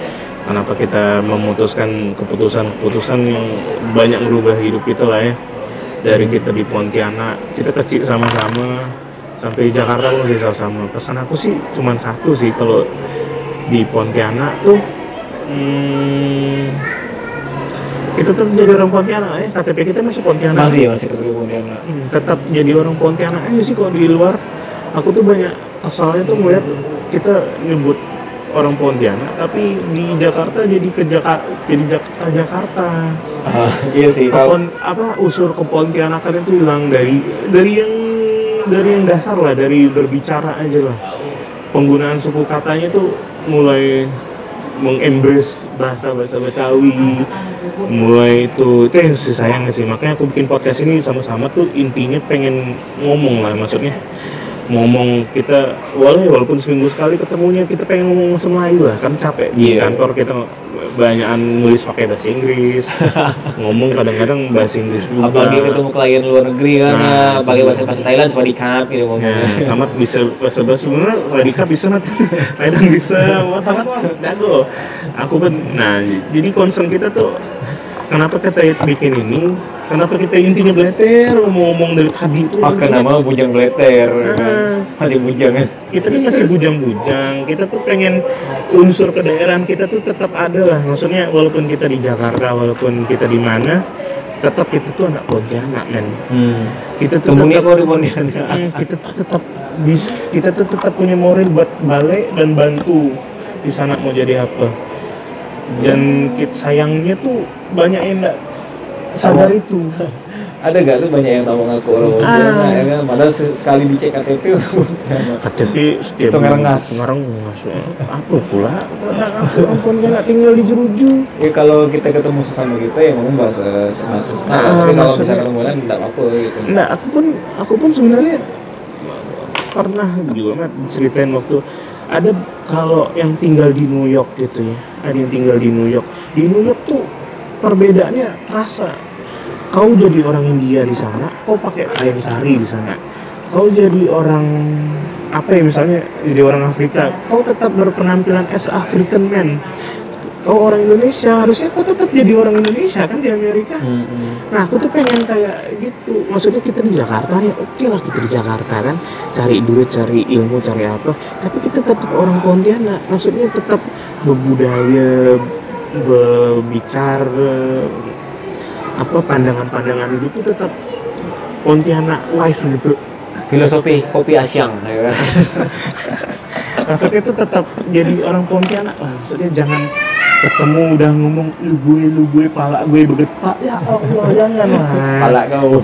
S2: kenapa kita memutuskan keputusan-keputusan yang banyak merubah hidup kita lah ya dari kita di Pontianak kita kecil sama-sama sampai Jakarta pun masih sama-sama pesan aku sih cuman satu sih kalau di Pontianak tuh hmm, kita tuh jadi orang Pontianak ya KTP kita masih Pontianak
S3: masih ya, masih kerja kemudian
S2: Hmm, tetap jadi orang Pontianak aja sih kalau di luar aku tuh banyak kesalnya tuh melihat kita nyebut orang Pontianak tapi di Jakarta jadi ke Jakarta jadi Jakarta Jakarta
S3: Ah, iya sih kalau
S2: Kepon- apa unsur kepontianakan itu hilang dari dari yang dari yang dasar lah dari berbicara aja lah penggunaan suku katanya tuh mulai mengembrace bahasa bahasa Betawi mulai itu itu yang sih sayang sih makanya aku bikin podcast ini sama-sama tuh intinya pengen ngomong lah maksudnya ngomong kita walau walaupun seminggu sekali ketemunya kita pengen ngomong bahasa Melayu lah kan capek di kantor kita banyakan nulis pakai bahasa Inggris ngomong kadang-kadang bahasa Inggris juga
S3: apalagi ketemu klien luar negeri kan
S2: Nah,
S3: ya
S2: itu
S3: pakai
S2: dia.
S3: bahasa bahasa Thailand cuma dikap gitu ngomongnya
S2: Nah, sama bisa bahasa bahasa sebenarnya Radika bisa nat, Thailand bisa, sama jago. Aku kan, nah jadi concern kita tuh kenapa kita bikin ini, kenapa kita intinya beleter ngomong-ngomong dari tadi itu.
S3: pakai nama bujang bleter ya kan.
S2: Ah.
S3: masih bujang kan
S2: Kita kan masih bujang-bujang, kita tuh pengen unsur kedaerahan kita tuh tetap ada lah. Maksudnya walaupun kita di Jakarta, walaupun kita di mana, tetap kita tuh anak Pontianak men.
S3: hmm.
S2: Kita tuh
S3: tumbuhnya
S2: tetap-
S3: kok di Pontianak
S2: Mm, kita tuh tetap bis- kita tuh tetap punya moral buat balik dan bantu di sana mau jadi apa dan kit sayangnya tuh banyak yang nggak sadar itu
S3: ada gak tuh banyak yang tahu ngaku orang
S2: Ah.
S3: Pontianak ya kan padahal se- sekali dicek KTP orang Pontianak
S2: KTP setiap
S3: Itu ngerengas.
S2: ngerengas ya. apa pula aku ampun dia nggak tinggal di jeruju
S3: ya kalau kita ketemu sesama kita ya ngomong bahasa bahasa
S2: Ah,
S3: Thailand tapi kalau bisa
S2: maksudnya-
S3: ketemu lain tidak apa gitu
S2: nah aku pun aku pun sebenarnya pernah juga Mat, ceritain waktu ada kalau yang tinggal di New York gitu ya ada yang tinggal di New York di New York tuh perbedaannya terasa kau jadi orang India di sana kau pakai kain sari di sana kau jadi orang apa ya misalnya jadi orang Afrika kau tetap berpenampilan as African man kau orang Indonesia harusnya kau tetap jadi orang Indonesia kan di Amerika
S3: Hmm,
S2: Nah aku tuh pengen kayak gitu Maksudnya kita di Jakarta nih Oke lah kita di Jakarta kan Cari duit, cari ilmu, cari apa Tapi kita tetap orang Pontianak Maksudnya tetap berbudaya Berbicara Apa pandangan-pandangan hidup itu tetap Pontianak wise gitu
S3: filosofi kopi asyang ya kan
S2: Maksudnya itu tetap jadi orang Pontianak lah Maksudnya jangan ketemu udah ngomong lu gue lu gue pala gue begetak ya Allah jangan lah
S3: pala kau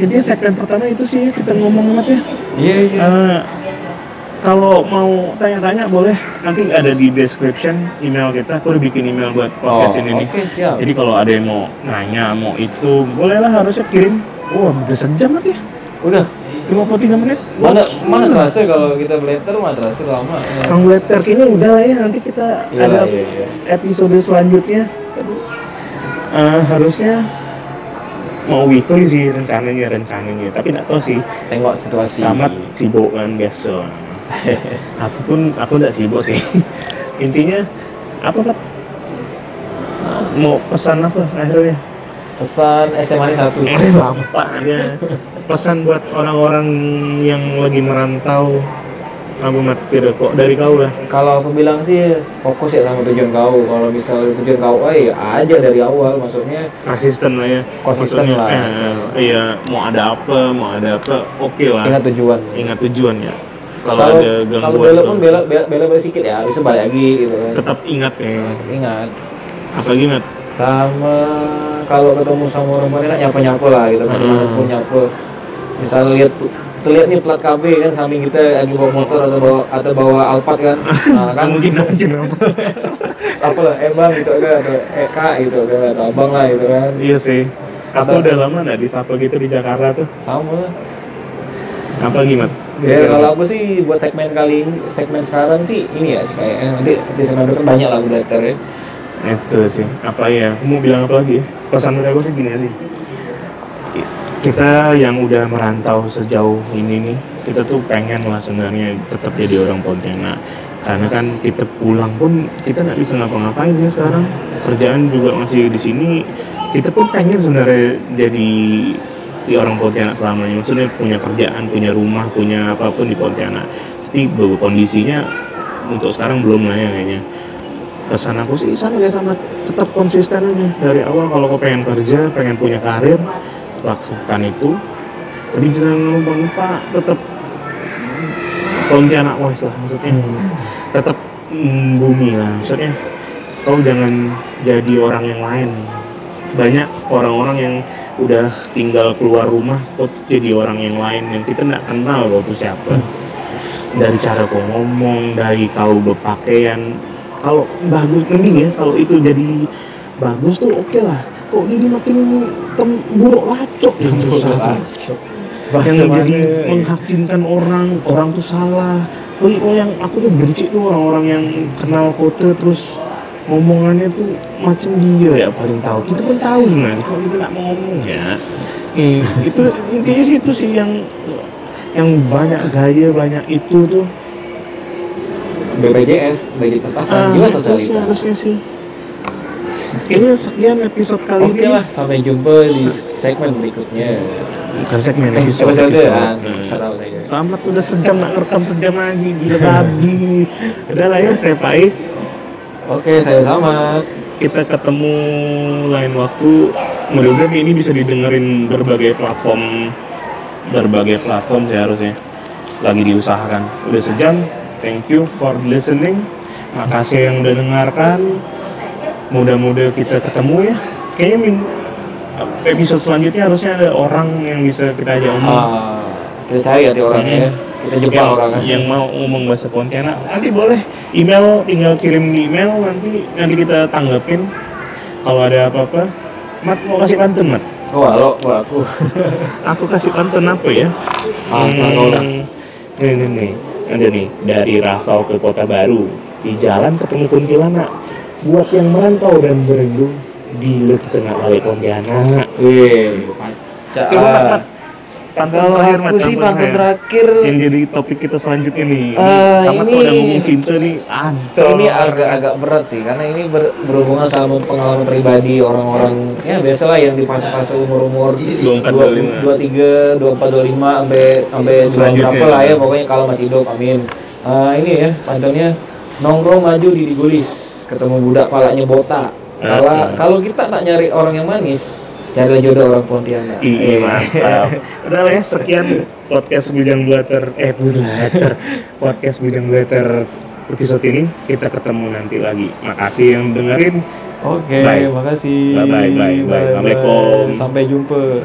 S2: jadi segmen pertama itu sih kita ngomong banget ya
S3: iya iya
S2: Eh, kalau mau tanya-tanya boleh nanti ada di description email kita aku udah bikin email buat podcast ini nih
S3: Oh, oke siap
S2: jadi kalau ada yang mau nanya mau itu bolehlah harusnya kirim wah udah sejam nanti ya
S3: udah
S2: 53 menit hmm.
S3: mana mana terasa kalau kita blatter mana terasa lama ya.
S2: Kang Letter kayaknya udah lah ya nanti kita
S3: Iya,
S2: ada
S3: iya, iya.
S2: episode selanjutnya Eh, harusnya mau weekly sih rencananya rencananya tapi nggak tahu sih
S3: tengok situasi
S2: sama sibuk kan biasa aku pun aku nggak sibuk sih intinya apa Pat? mau pesan apa akhirnya
S3: pesan SMA ini satu
S2: Eh, bampaknya pesan buat orang-orang yang lagi merantau Abumat tidak kok dari kau lah.
S3: Kalau aku bilang sih fokus ya sama tujuan kau. Kalau misalnya tujuan kau, eh aja dari awal. Maksudnya
S2: Asisten lah ya.
S3: Konsisten
S2: Maksudnya,
S3: lah.
S2: eh, iya, mau ada apa, mau ada apa, oke lah.
S3: ingat tujuan.
S2: Ingat tujuan ya. Nah. Kalau
S3: Kalau
S2: ada
S3: kalau
S2: gangguan
S3: bela pun
S2: tuh,
S3: bela bela bela, bela sedikit ya, bisa balik lagi gitu kan.
S2: tetap ingat ya.
S3: Ingat.
S2: Apalagi Mat,
S3: sama kalau ketemu sama orang Manila nyapa nyapa lah gitu kan
S2: Hmm.
S3: nyapa nyapa misal lihat terlihat nih plat KB kan samping kita lagi bawa motor atau bawa atau bawa Alphard kan nah, kan
S2: mungkin mungkin apa?
S3: apa lah eh bang gitu kan atau eh kak gitu kan atau abang lah gitu kan
S2: iya sih. Aku udah lama nggak disapa gitu di Jakarta tuh.
S3: sama
S2: Apa gimana? iya.
S3: ya kalau aku sih buat segmen kali ini- segmen sekarang sih ini ya kayak eh, nanti di segmen depan banyak lah udah ter ya.
S2: Itu sih. Apa ya? Aku mau bilang apa lagi? ya? Pesan dari aku sih gini sih. Kita yang udah merantau sejauh ini nih, kita tuh pengen lah sebenarnya tetap jadi orang Pontianak. Karena kan kita pulang pun kita nggak bisa ngapa-ngapain sih sekarang. Kerjaan juga masih di sini. Kita pun pengen sebenarnya jadi di orang Pontianak selamanya. Maksudnya punya kerjaan, punya rumah, punya apapun di Pontianak. Tapi be- kondisinya untuk sekarang belum lah ya kayaknya pesan aku sih sama ya sama tetap konsisten aja dari awal kalau kau pengen kerja pengen punya karir lakukan itu tapi jangan lupa lupa tetap Pontianak wise lah maksudnya tetap mm, bumi lah maksudnya kau jangan jadi orang yang lain banyak orang-orang yang udah tinggal keluar rumah kok jadi orang yang lain yang kita nggak kenal loh itu siapa dari cara kau ngomong dari kau berpakaian kalau bagus mending ya kalau itu jadi bagus tuh oke lah kok jadi makin tem- buruk lacok yang susah tuh. yang
S3: Bahasa
S2: jadi
S3: mana?
S2: menghakimkan orang orang tuh salah oh, oh, yang aku tuh benci tuh orang-orang yang kenal kota terus ngomongannya tuh macam dia ya paling tahu kita pun tahu sebenarnya kalau kita nggak mau ngomong ya
S3: Hmm.
S2: Eh, itu intinya sih itu sih yang yang banyak gaya banyak itu tuh
S3: BPJS BPJS
S2: Ah,
S3: pertasan jiwa
S2: harusnya sih,
S3: sosialita
S2: harusnya sih. Ini sekian episode kali
S3: Oke
S2: ini.
S3: lah, sampai jumpa di segmen berikutnya.
S2: Bukan segmen
S3: Eh,
S2: episode.
S3: episode,
S2: episode.
S3: ah,
S2: Nah.
S3: serah saya.
S2: Selamat udah sejam nggak ngerekam sejam lagi gila babi. Udah lah ya saya pahit.
S3: Oke, saya sama.
S2: Kita ketemu lain waktu. Mudah-mudahan ini bisa didengerin berbagai platform berbagai platform sih harusnya lagi diusahakan. Udah sejam. Thank you for listening. Makasih yang udah dengarkan. Mudah-mudahan kita ketemu ya. Kayaknya min- episode selanjutnya harusnya ada orang yang bisa kita ajak omong.
S3: Ah, kita cari hati orangnya.
S2: Hmm.
S3: Kita jebak ya.
S2: yang,
S3: orangnya.
S2: yang mau ngomong bahasa Pontianak nanti boleh email tinggal kirim di email nanti nanti kita tanggapin kalau ada apa-apa Mat mau kasih pantun Mat
S3: Oh, halo, gua aku.
S2: aku kasih pantun apa ya Hmm,
S3: Ah, salah orang.
S2: ini nih, nih ada nih dari Rasau ke Kota Baru di jalan ketemu kuntilanak buat yang merantau dan berendung bila kita nggak balik Pontianak
S3: Wih,
S2: coba Mat, Mat
S3: pacak.
S2: pantun
S3: Ah. Kalau
S2: terakhir Mat
S3: aku sih
S2: pantun
S3: pantun
S2: terakhir.
S3: terakhir
S2: yang jadi topik kita selanjutnya nih
S3: Ah,
S2: sama tuh
S3: ini-
S2: ada ngomong cinta nih ancol
S3: ini agak-agak berat sih karena ini ber- berhubungan sama pengalaman pribadi orang-orang ya biasalah yang di fase-fase umur-umur
S2: 24, 25.
S3: 23, 24, 25 sampai sampai
S2: Selanjutnya.
S3: berapa lah ya pokoknya kalau masih hidup amin. Ah, ini ya pantunnya nongkrong maju di digulis ketemu budak palanya botak. Kalau
S2: Ah.
S3: kalau kita tak nyari orang yang manis, carilah jodoh orang Pontianak.
S2: Iya,
S3: Eh.
S2: mantap. Udah lah ya, sekian podcast Bujang Blater, eh Blater, podcast Bujang Blater episode ini. Kita ketemu nanti lagi. Makasih yang dengerin.
S3: Oke,
S2: Bye.
S3: makasih.
S2: Bye, bye, bye, bye. Assalamualaikum.
S3: Sampai jumpa.